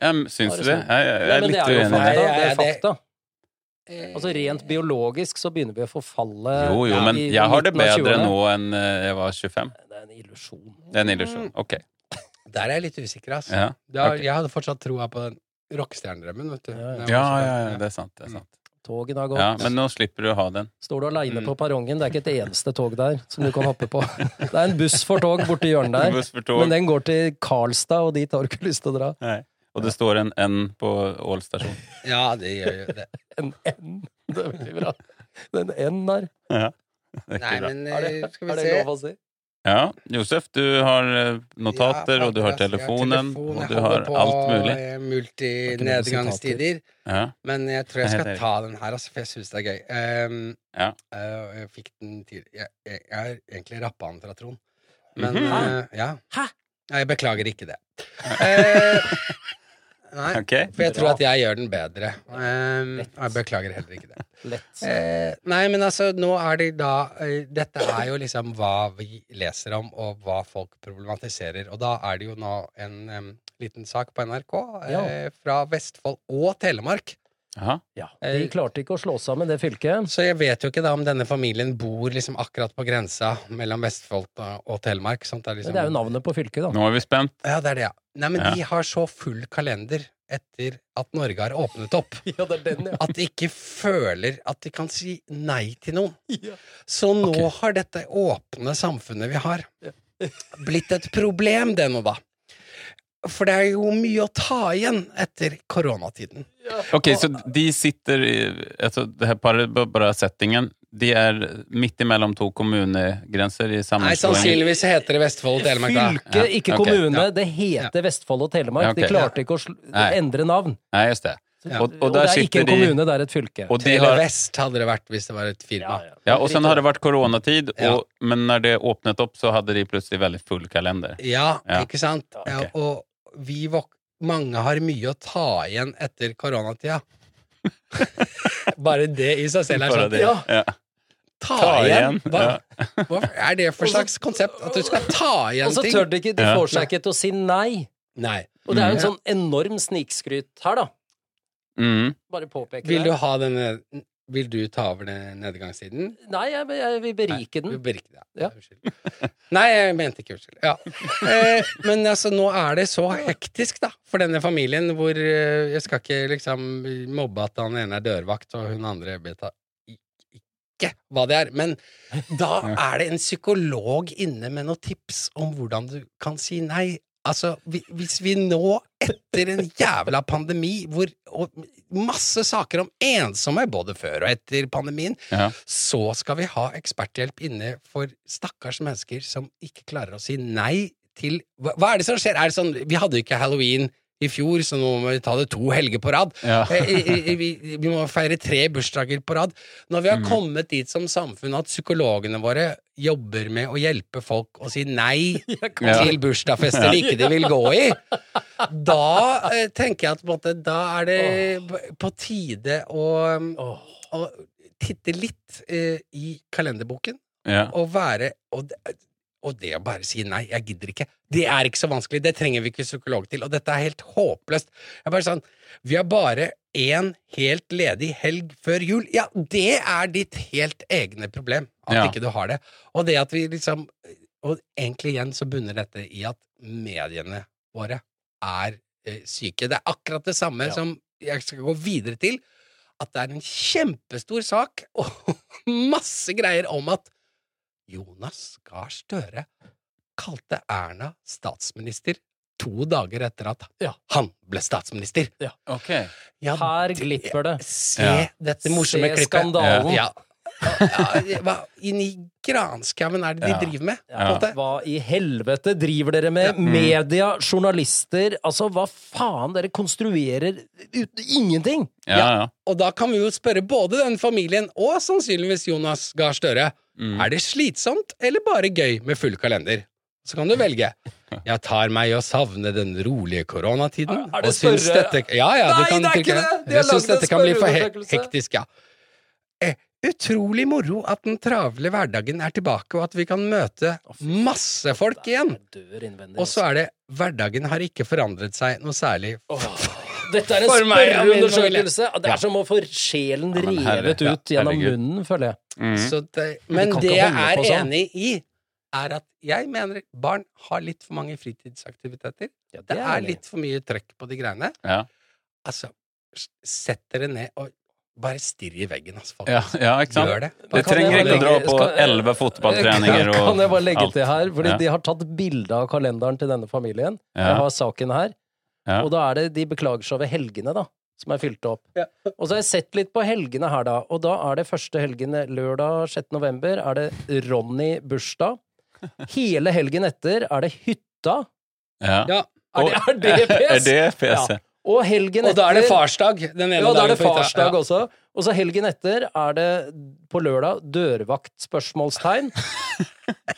Speaker 1: ja, men Syns du det? Jeg, jeg,
Speaker 2: Nei,
Speaker 1: er
Speaker 2: men
Speaker 1: litt
Speaker 2: det er jo
Speaker 1: uenig i
Speaker 2: fakta.
Speaker 1: det.
Speaker 2: Det er
Speaker 3: Ja, det-
Speaker 2: fakta. Altså Rent biologisk så begynner vi å forfalle
Speaker 1: Jo, jo,
Speaker 2: ja,
Speaker 1: men
Speaker 2: i
Speaker 1: jeg har det
Speaker 2: midten av
Speaker 1: bedre
Speaker 2: 20-årene.
Speaker 1: nå enn eh, jeg var 25.
Speaker 2: Det er en illusjon.
Speaker 1: Det er en illusjon. Ok.
Speaker 3: Der er jeg litt usikker, altså.
Speaker 1: Ja,
Speaker 3: Da,
Speaker 1: ok.
Speaker 3: Jeg hadde fortsatt troa på den rockestjernedrømmen, vet du.
Speaker 2: Ja,
Speaker 3: Da jeg
Speaker 1: ja,
Speaker 3: var
Speaker 1: ja,
Speaker 3: så-
Speaker 1: ja, det er sant. Det er sant.
Speaker 2: Togene har gått.
Speaker 1: Ja, men nå slipper du å ha den.
Speaker 2: Står du aleine
Speaker 3: Mm.
Speaker 2: på perrongen, det er ikke et eneste tog der som du kan hoppe på. Det er en buss for tog borti hjørnet der,
Speaker 1: Buss for tog.
Speaker 2: men den går til Karlstad, og dit har du ikke lyst til å dra.
Speaker 1: Nei. Og det står en N på Ål stasjon.
Speaker 3: ja, det gjør jo det.
Speaker 2: En N! Det er veldig bra. Den N der.
Speaker 1: Ja. Det er
Speaker 3: Nei,
Speaker 1: ikke bra.
Speaker 3: men
Speaker 2: Er det,
Speaker 3: eh, skal vi
Speaker 2: er det
Speaker 3: se
Speaker 2: lov å si?
Speaker 1: Ja, Josef, du har eh, notater,
Speaker 3: Ja,
Speaker 1: og du har
Speaker 3: faktisk, jeg
Speaker 1: telefonen,
Speaker 3: telefon,
Speaker 1: og
Speaker 3: jeg
Speaker 1: du
Speaker 3: holder
Speaker 1: har
Speaker 3: på,
Speaker 1: alt mulig.
Speaker 3: eh,
Speaker 2: Det er ikke noen
Speaker 3: Multinedgangstider.
Speaker 1: Ja.
Speaker 3: Men jeg tror jeg
Speaker 1: Jeg er
Speaker 3: skal
Speaker 1: helt
Speaker 3: ta den her, altså, for jeg syns det er gøy. Ehm,
Speaker 1: Ja.
Speaker 3: eh, og jeg fikk den til Jeg, jeg, jeg har egentlig rappa den fra Trond, men
Speaker 1: Mhm.
Speaker 3: eh, ja.
Speaker 2: Hæ?
Speaker 3: Nei, jeg beklager ikke det. Eh, nei,
Speaker 1: Ok?
Speaker 3: for jeg
Speaker 2: Bra.
Speaker 3: tror at jeg gjør den bedre. Ehm,
Speaker 2: Lett.
Speaker 3: og jeg beklager heller ikke det.
Speaker 2: Lett.
Speaker 3: Eh, nei, men altså, nå er det da eh, Dette er jo liksom hva vi leser om, og hva folk problematiserer. Og da er det jo nå en em, liten sak på NRK eh,
Speaker 2: Ja.
Speaker 3: fra Vestfold og Telemark.
Speaker 1: Aha.
Speaker 2: Ja. De klarte ikke å slå sammen det fylket.
Speaker 3: Så jeg vet jo ikke da om denne familien bor liksom akkurat på grensa mellom Vestfold og, og Telemark. Sånt er
Speaker 2: Men
Speaker 3: liksom
Speaker 2: det er jo navnet på fylket, da.
Speaker 1: Nå er vi spent.
Speaker 3: Ja, det er det, ja. Nei, men
Speaker 1: Ja.
Speaker 3: de har så full kalender etter at Norge har åpnet opp,
Speaker 2: Ja, det er den,
Speaker 3: at de ikke føler at de kan si nei til noen.
Speaker 2: ja.
Speaker 3: Så nå
Speaker 1: Ok.
Speaker 3: har dette åpne samfunnet vi har, blitt et problem, det nå, da. For det er jo mye å ta igjen etter koronatiden.
Speaker 1: Ok, så de sitter i altså, det her bare, bare settingen. De er midt imellom to kommunegrenser i
Speaker 3: Nei,
Speaker 1: sammenslåing.
Speaker 3: sannsynligvis heter det Vestfold og Telemark, da.
Speaker 2: Fylke,
Speaker 1: Ja,
Speaker 2: ikke
Speaker 1: ok.
Speaker 2: kommune. Det heter Vestfold og Telemark.
Speaker 1: Ja,
Speaker 2: De
Speaker 1: ok.
Speaker 2: klarte ikke å sl
Speaker 1: Nei.
Speaker 2: endre navn.
Speaker 1: Nei, just det.
Speaker 3: Ja.
Speaker 1: Og, og
Speaker 2: Og det
Speaker 1: der
Speaker 2: er ikke
Speaker 1: sitter
Speaker 2: en
Speaker 1: de
Speaker 2: kommune, det er et fylke.
Speaker 1: og de har,
Speaker 3: Televest hadde det vært hvis det var et firma.
Speaker 1: ja, og sen har det vært koronatid,
Speaker 3: Ja.
Speaker 1: og, men når det åpnet opp, så hadde de plutselig veldig full kalender.
Speaker 3: Ja,
Speaker 1: Ja.
Speaker 3: ikke sant? Ja,
Speaker 1: ok.
Speaker 3: og vi vok mange har mye å ta igjen etter koronatida. Bare det i seg selv er
Speaker 1: Bare
Speaker 3: sånn.
Speaker 1: det.
Speaker 3: Ja,
Speaker 1: Ja.
Speaker 3: ta,
Speaker 1: Ta
Speaker 3: igjen!
Speaker 1: igjen,
Speaker 3: Hva,
Speaker 1: ja.
Speaker 3: hva er det for slags konsept? At du skal ta
Speaker 2: Og
Speaker 3: igjen
Speaker 2: så
Speaker 3: ting?
Speaker 2: tør de ikke, de
Speaker 1: Ja.
Speaker 2: får seg ikke til å si nei.
Speaker 3: Nei.
Speaker 2: Og det er jo en
Speaker 3: Mhm.
Speaker 2: sånn enorm snikskryt her, da.
Speaker 1: Mm.
Speaker 2: Bare påpeke
Speaker 3: Vil du
Speaker 2: det.
Speaker 3: ha denne Vil du ta over den nedgangssiden?
Speaker 2: Nei, jeg, jeg vil berike
Speaker 3: Du
Speaker 2: den.
Speaker 3: berikte deg.
Speaker 2: Ja.
Speaker 3: Unnskyld. Nei, jeg mente ikke unnskyld. Ja. Eh, men altså, nå er det så hektisk, da, for denne familien, hvor eh, jeg skal ikke liksom mobbe at han ene er dørvakt, og hun andre vet da i- ikke hva det er. Men da er det en psykolog inne med noen tips om hvordan du kan si nei. Altså, vi- hvis vi nå, etter en jævla pandemi, hvor, og masse saker om ensomme både før og etter pandemien,
Speaker 1: Ja.
Speaker 3: så skal vi ha eksperthjelp inne for stakkars mennesker som ikke klarer å si nei til Hva, hva er det som skjer? Er det sånn Vi hadde jo ikke halloween i fjor, så nå må vi ta det to helger på rad.
Speaker 1: Ja.
Speaker 3: Eh, eh, eh, Vi, vi må feire tre bursdager på rad. Når vi har
Speaker 1: Mm.
Speaker 3: kommet dit som samfunn at psykologene våre jobber med å hjelpe folk å si nei
Speaker 1: Ja.
Speaker 3: til bursdagsfester de ikke de vil gå i, da eh, tenker jeg at på en måte, da er det b- på tide å, um,
Speaker 2: Åh.
Speaker 3: å titte litt eh, i kalenderboken
Speaker 1: Ja.
Speaker 3: og være og, det- eh, Og det å bare si nei, jeg gidder ikke, det er ikke så vanskelig, det trenger vi ikke psykolog til, og dette er helt håpløst. Jeg er bare sånn, vi har bare én helt ledig helg før jul. Ja, det er ditt helt egne problem, at
Speaker 1: Ja.
Speaker 3: ikke du har det. Og det at vi liksom Og egentlig igjen så bunner dette i at mediene våre er eh, syke. Det er akkurat det samme
Speaker 2: Ja.
Speaker 3: som jeg skal gå videre til, at det er en kjempestor sak og masse greier om at Jonas Gahr Støre kalte Erna statsminister to dager etter at
Speaker 2: Ja.
Speaker 3: han ble statsminister.
Speaker 1: Ok.
Speaker 3: Ja,
Speaker 2: Her
Speaker 3: det-
Speaker 2: glipper det.
Speaker 3: Se
Speaker 1: Ja.
Speaker 3: dette morsomme
Speaker 2: Se
Speaker 3: klippet.
Speaker 2: skandalen.
Speaker 3: Ja. ja, hva inn i granskauen er det de
Speaker 1: Ja.
Speaker 3: driver med? på en
Speaker 1: Ja.
Speaker 3: måte?
Speaker 2: Hva i helvete driver dere med?
Speaker 3: Mm.
Speaker 2: Media, journalister Altså, hva faen? Dere konstruerer ut, ingenting!
Speaker 3: Mm.
Speaker 1: Ja, ja.
Speaker 3: Og da kan vi jo spørre både den familien og sannsynligvis Jonas Gahr Støre.
Speaker 1: Mm.
Speaker 3: Er det slitsomt eller bare gøy med full kalender? Så kan du velge. Jeg tar meg i å savne den rolige koronatiden.
Speaker 2: Ah, Er det
Speaker 3: og syns
Speaker 2: Støre?
Speaker 3: dette, ja, ja, du
Speaker 2: Nei,
Speaker 3: kan
Speaker 2: det er ikke
Speaker 3: trykke-
Speaker 2: det! De har
Speaker 3: Jeg syns
Speaker 2: laget en
Speaker 3: dette kan bli for he
Speaker 2: spørreundersøkelse.
Speaker 3: hektisk, ja. Eh, utrolig moro at den travle hverdagen er tilbake, og at vi kan møte masse folk igjen.
Speaker 2: Jeg dør innvendig.
Speaker 3: Og så er det hverdagen har ikke forandret seg noe særlig.
Speaker 2: altså. Dette er en
Speaker 3: For meg og min familie.
Speaker 2: spørreundersøkelse! Det
Speaker 3: Ja.
Speaker 2: er som å få sjelen
Speaker 1: Ja, men herre-
Speaker 2: revet
Speaker 1: ja,
Speaker 2: ut gjennom
Speaker 1: herregud.
Speaker 2: munnen, føler jeg.
Speaker 1: Mm.
Speaker 3: Så det,
Speaker 2: Vi
Speaker 3: men
Speaker 2: kan
Speaker 3: det
Speaker 2: ikke
Speaker 3: jeg
Speaker 2: holde
Speaker 3: er
Speaker 2: på sånn.
Speaker 3: enig i, er at jeg mener barn har litt for mange fritidsaktiviteter.
Speaker 2: Ja,
Speaker 3: Det er
Speaker 2: enig.
Speaker 3: litt for mye trøkk på de greiene.
Speaker 1: Ja.
Speaker 3: Altså, s- sett dere ned og bare stirr i veggen, altså, folk.
Speaker 1: Ja, ja, ikke sant?
Speaker 3: Gjør det.
Speaker 1: Du
Speaker 2: Da kan
Speaker 1: trenger
Speaker 2: jeg
Speaker 1: ikke å dra
Speaker 2: bare legge-
Speaker 1: på
Speaker 2: skal-
Speaker 1: elleve fotballtreninger og
Speaker 2: Kan jeg bare legge
Speaker 1: alt.
Speaker 2: til her? Fordi
Speaker 1: Ja.
Speaker 2: de har tatt bilde av kalenderen til denne familien.
Speaker 1: Ja.
Speaker 2: Jeg har saken her.
Speaker 1: Ja.
Speaker 2: Og da er det de beklager seg over helgene, da. Som er fylt opp.
Speaker 3: Ja.
Speaker 2: Og så har jeg sett litt på helgene her, da. Og da er det første helgen lørdag 6. november er det Ronny bursdag. Hele helgen etter er det hytta.
Speaker 1: Ja.
Speaker 3: Ja.
Speaker 2: Er det, er det
Speaker 1: Er
Speaker 2: pes?
Speaker 1: det PC?
Speaker 2: Og helgen
Speaker 3: Og
Speaker 2: etter
Speaker 3: da er det farsdag den ene
Speaker 2: Ja, da er det
Speaker 3: dagen på hytta.
Speaker 2: farsdag også. Og så helgen etter er det på lørdag dørvakt? spørsmålstegn.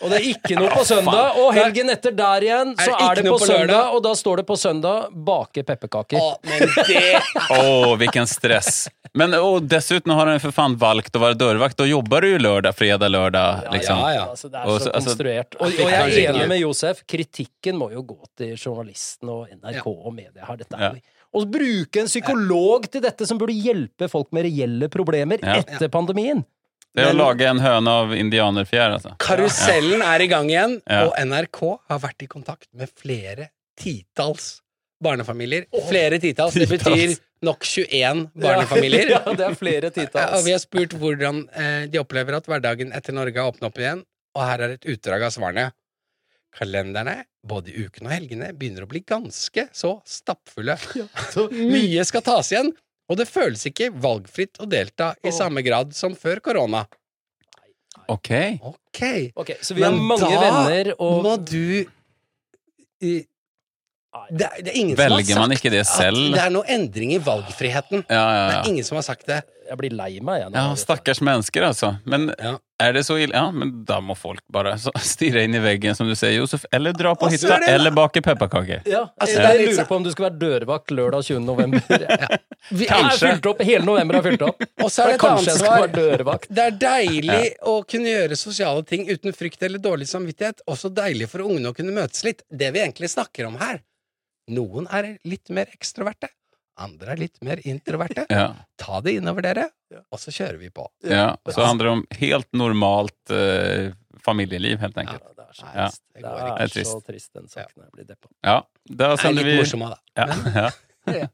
Speaker 2: Og det er ikke noe på søndag. Og helgen etter der igjen, så
Speaker 3: Er
Speaker 2: er
Speaker 3: det
Speaker 2: det
Speaker 3: ikke noe
Speaker 2: på
Speaker 3: på lørdag?
Speaker 2: søndag, og da står det på søndag bake
Speaker 3: Ja.
Speaker 2: pepperkaker.
Speaker 3: Å, men det
Speaker 1: Åh, vilken stress. Men och dessuten har han för fan valgt att vara dörrvakt. Då jobbar du ju lørdag, fredag, lørdag. Liksom.
Speaker 3: ja, ja.
Speaker 2: Altså, det er
Speaker 1: Og
Speaker 2: så
Speaker 1: så- altså-
Speaker 2: konstruert. Og, og jeg er enig med Josef, kritikken må jo gå til journalisten og NRK og media her. Dette er jo å bruke en psykolog til dette som burde hjelpe folk med reelle problemer
Speaker 1: Ja.
Speaker 2: etter pandemien.
Speaker 1: Det är att laga en höna av indianerfjär alltså.
Speaker 3: Karusellen er i gang igjen,
Speaker 1: Ja.
Speaker 3: og NRK har vært i kontakt med flere titalls barnefamilier. Flere titalls, det betyr
Speaker 1: Titalls.
Speaker 3: nok 21 barnefamilier.
Speaker 2: Ja, det er flere
Speaker 3: Ja, og
Speaker 2: titalls.
Speaker 3: vi har spurt hvordan eh, de opplever at hverdagen etter Norge har åpnet opp igjen, og her er et utdrag av svarene. Kalenderne, både i ukene og helgene, begynner å bli ganske så stappfulle. Mye skal tas igjen, og det føles ikke valgfritt å delta i
Speaker 2: Åh.
Speaker 3: samme grad som før korona.
Speaker 1: Okej.
Speaker 3: Ok,
Speaker 2: Ok, så vi har
Speaker 3: Men
Speaker 2: mange
Speaker 3: da
Speaker 2: venner og
Speaker 3: må du i- det, er- det er ingen
Speaker 1: Väljer
Speaker 3: som
Speaker 1: man
Speaker 3: har
Speaker 1: inte det
Speaker 3: sagt at
Speaker 1: selv?
Speaker 3: det er noe endring i valgfriheten.
Speaker 1: Ja, ja,
Speaker 3: Det
Speaker 1: ja.
Speaker 3: er ingen som har sagt det.
Speaker 2: Jeg blir lei meg, jeg. nå.
Speaker 1: Ja, stackars människor alltså. Men
Speaker 3: Ja.
Speaker 1: är det så illa? Ja, men då må folk bara så- stirra in i väggen som du säger Josef. Eller dra på
Speaker 3: Och så
Speaker 1: hytta,
Speaker 3: är det-
Speaker 1: eller baka pepparkakor.
Speaker 2: Ja,
Speaker 3: Altså, det er
Speaker 2: jeg
Speaker 3: litt
Speaker 2: lurer
Speaker 3: så-
Speaker 2: på om du skal være dørvakt lørdag 20. november. Jeg
Speaker 3: Vi,
Speaker 2: er
Speaker 1: Kanskje.
Speaker 2: fylt opp, Hele november er fylt opp.
Speaker 3: Og så er det et
Speaker 2: Kanskje
Speaker 3: annet
Speaker 2: jeg skal
Speaker 3: svar.
Speaker 2: være dørvakt.
Speaker 3: Det er deilig å kunne gjøre sosiale ting uten frykt eller dårlig samvittighet. Også deilig for ungene å kunne møtes litt. Det vi egentlig snakker om her. Noen er litt mer ekstroverte. Andre er litt mer introverte.
Speaker 1: Ja,
Speaker 3: Ta det innover dere, og så kjører vi på.
Speaker 1: ja. Så handlar det om helt normalt eh, familjeliv helt enkelt.
Speaker 2: Ja, det er så
Speaker 1: Ja.
Speaker 2: trist. Det
Speaker 3: Det går ikke.
Speaker 2: er
Speaker 1: Det er
Speaker 2: så trist, den saken. Jeg blir deppa.
Speaker 1: Ja, då
Speaker 3: Det er
Speaker 1: sänder
Speaker 3: litt
Speaker 1: vi...
Speaker 3: morsomt, da.
Speaker 1: Ja, ja.
Speaker 3: Ja.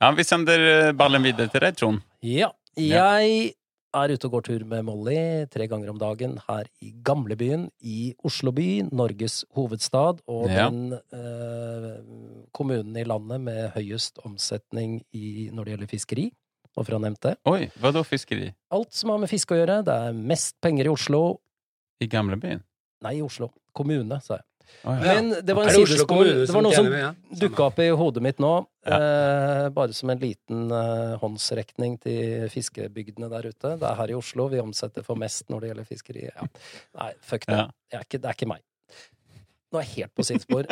Speaker 1: ja, vi sänder eh, ballen videre till dig Trond.
Speaker 2: Ja.
Speaker 1: Ja.
Speaker 2: Jeg er ute og går tur med Molly tre ganger om dagen her i gamlebyen i Oslo by, Norges hovedstad, og
Speaker 1: Ja.
Speaker 2: den eh, kommunen i landet med høyest omsetning i, når det gjelder fiskeri, ovennevnte.
Speaker 1: Oi, vadå fiskeri?
Speaker 2: Alt som har med fiske å gjøre. Det er mest penger i Oslo.
Speaker 1: I Gamlebyen?
Speaker 2: Nei, i Oslo. Kommune, sa jeg.
Speaker 1: Oh, ja.
Speaker 2: Men det var
Speaker 3: Er
Speaker 2: en
Speaker 3: det Oslo
Speaker 2: sidespor.
Speaker 3: kommune
Speaker 2: Det var
Speaker 3: som
Speaker 2: noe som
Speaker 3: tjener med? Ja.
Speaker 2: dukka opp i hodet mitt nå, eh, bare som en liten eh, håndsrekning til fiskebygdene der ute. Det er her i Oslo vi omsetter for mest når det gjelder fiskeri. Ja. Nei, fuck det.
Speaker 1: Ja.
Speaker 2: Det, er ikke, det er ikke meg. Nå er jeg helt på sidespor.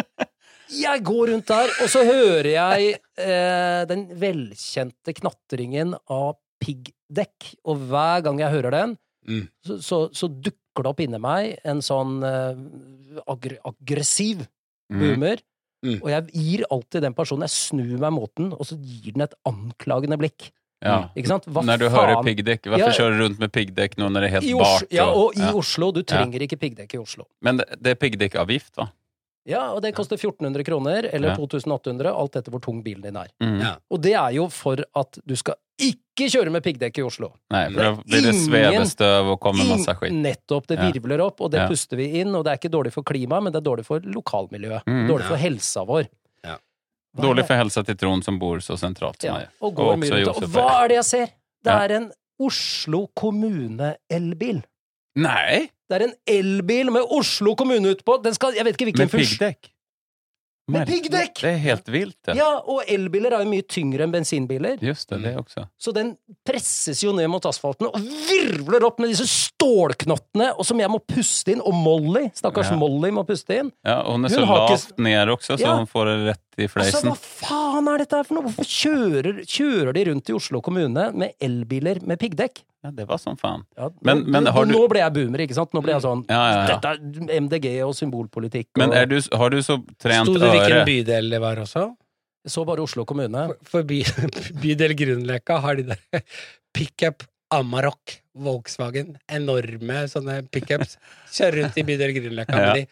Speaker 2: Jeg går rundt der, og så hører jeg eh, den velkjente knatringen av piggdekk. Og hver gang jeg hører den,
Speaker 3: Mm.
Speaker 2: så, så, så dukker dukker det opp inni meg en sånn eh, aggr aggressiv
Speaker 1: Mm.
Speaker 2: boomer.
Speaker 3: Mm.
Speaker 2: Og jeg gir alltid den personen Jeg snur meg mot den, og så gir den et anklagende blikk.
Speaker 1: Ja.
Speaker 2: Ikke sant? Hva
Speaker 1: Når du
Speaker 2: faen?
Speaker 1: hører piggdekk, hvorfor
Speaker 2: Ja.
Speaker 1: kjører du rundt med piggdekk nå når det er
Speaker 2: I
Speaker 1: helt
Speaker 2: Oslo,
Speaker 1: bart?
Speaker 2: ja, og i
Speaker 1: ja.
Speaker 2: Oslo. Du trenger ikke piggdekk i Oslo.
Speaker 1: Men det, det er piggdekkavgift, da.
Speaker 2: Ja, og det koster 1400 kroner, eller
Speaker 1: Ja.
Speaker 2: 2800, alt etter hvor tung bilen din er.
Speaker 1: Mm.
Speaker 3: Ja.
Speaker 2: Og det er jo for at du skal ikke kjøre med piggdekk i Oslo.
Speaker 1: Nei, for da blir det
Speaker 2: Ingen-
Speaker 1: svevestøv og kommer masse
Speaker 2: Inn-
Speaker 1: skit.
Speaker 2: Nettopp. Det
Speaker 1: Ja.
Speaker 2: virvler opp, og det
Speaker 1: Ja.
Speaker 2: puster vi inn. Og det er ikke dårlig for klimaet, men det er dårlig for lokalmiljøet.
Speaker 1: Mm.
Speaker 2: dårlig
Speaker 3: Ja.
Speaker 2: for helsa vår.
Speaker 3: Ja.
Speaker 2: Hva er
Speaker 1: Dårlig
Speaker 2: det?
Speaker 1: for helsa til Trond som bor så sentralt som
Speaker 2: ja.
Speaker 1: jeg.
Speaker 2: Og
Speaker 1: Og
Speaker 2: går
Speaker 1: også
Speaker 2: mye rundt.
Speaker 1: Josef
Speaker 2: Og hva
Speaker 1: Høyre.
Speaker 2: er det jeg ser? Det
Speaker 1: Ja.
Speaker 2: er en Oslo kommune-elbil.
Speaker 1: Nei!
Speaker 2: Det er en elbil med Oslo kommune utpå! Den skal, jeg vet ikke hvilken
Speaker 1: Med
Speaker 2: funksjon
Speaker 1: piggdekk.
Speaker 2: Med
Speaker 1: Merkelig.
Speaker 2: piggdekk!
Speaker 1: Det er helt vilt, det.
Speaker 2: Ja, og elbiler er jo mye tyngre enn bensinbiler,
Speaker 1: Just det, det også.
Speaker 2: så den presses jo ned mot asfalten og virvler opp med disse stålknottene, og som jeg må puste inn, og Molly, stakkars
Speaker 1: Ja.
Speaker 2: Molly må puste inn.
Speaker 1: Ja, og hun er så
Speaker 2: Hun har ikke-
Speaker 1: lavt ned også, så
Speaker 2: Ja.
Speaker 1: hun får det rett i
Speaker 2: Altså,
Speaker 1: fleisen.
Speaker 2: hva faen er dette her for noe? Hvorfor kjører, kjører de rundt i Oslo kommune med elbiler med piggdekk?
Speaker 1: Ja, det var som faen.
Speaker 2: Ja, nå-
Speaker 1: Men- men har du-
Speaker 2: Nå ble jeg boomer, ikke sant? Nå ble jeg sånn
Speaker 1: Ja, ja, ja.
Speaker 2: Dette er MDG og symbolpolitikk. Og
Speaker 1: Men er du, har du så trent
Speaker 3: Sto det hvilken
Speaker 1: øre
Speaker 3: bydel det var også?
Speaker 2: Jeg så bare Oslo kommune.
Speaker 3: For, for by, bydel Grünerløkka har de der pickup Amarok Volkswagen. Enorme sånne pickups. Kjører rundt i bydel Grünerløkka.
Speaker 1: Ja.
Speaker 3: med de.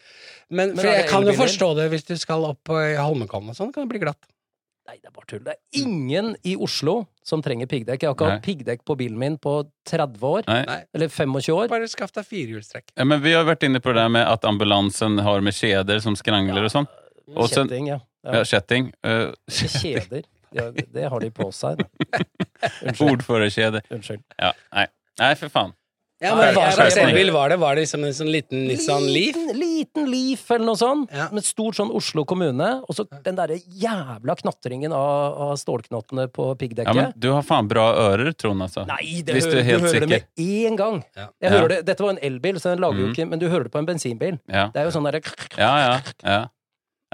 Speaker 3: Men,
Speaker 2: Men
Speaker 3: for
Speaker 2: er det
Speaker 3: jeg kan jo
Speaker 2: elbiler?
Speaker 3: forstå det hvis du skal opp på Holmenkollen og sånn, kan det bli glatt.
Speaker 2: Nei, det er bare tull. Det er ingen i Oslo som trenger piggdekk. Jeg har ikke hatt piggdekk på bilen min på 30 år.
Speaker 1: Nei.
Speaker 3: Nei.
Speaker 2: Eller 25 år.
Speaker 3: Bare skaff deg firehjulstrekk.
Speaker 1: Ja, men vi har vært inne på det der med at ambulansen har med kjeder som skrangler og sånn. Og så-
Speaker 2: Kjetting, ja.
Speaker 1: Ja,
Speaker 2: ja.
Speaker 1: kjetting. Uh,
Speaker 2: Kjeder. Ja, det har de på seg. Unnskyld.
Speaker 1: Ordførerkjede.
Speaker 2: Unnskyld.
Speaker 1: Ja, nei. Nei, for faen.
Speaker 3: Ja, men
Speaker 2: Nei,
Speaker 3: Hva
Speaker 2: jeg-
Speaker 3: slags
Speaker 1: jeg-
Speaker 3: elbil var det? Var det liksom en sånn liten Nissan Leaf?
Speaker 2: Liten, liten Leaf eller noe sånt.
Speaker 3: Ja.
Speaker 2: Med stort sånn Oslo kommune. Og så den derre jævla knatringen av, av stålknottene på
Speaker 1: Ja,
Speaker 2: piggdekket.
Speaker 1: men du har faen bra ører, Trond, altså.
Speaker 2: Nei, det
Speaker 1: Hvis du er
Speaker 2: hører, du,
Speaker 1: helt
Speaker 2: hører
Speaker 1: sikker.
Speaker 2: det med én gang.
Speaker 3: Ja.
Speaker 2: Jeg
Speaker 1: Ja.
Speaker 2: hører det, dette var en elbil, så den lager jo
Speaker 1: Mhm.
Speaker 2: ikke Men du hører det på en bensinbil.
Speaker 1: Ja,
Speaker 2: Det er jo sånn derre
Speaker 1: ja, ja. ja.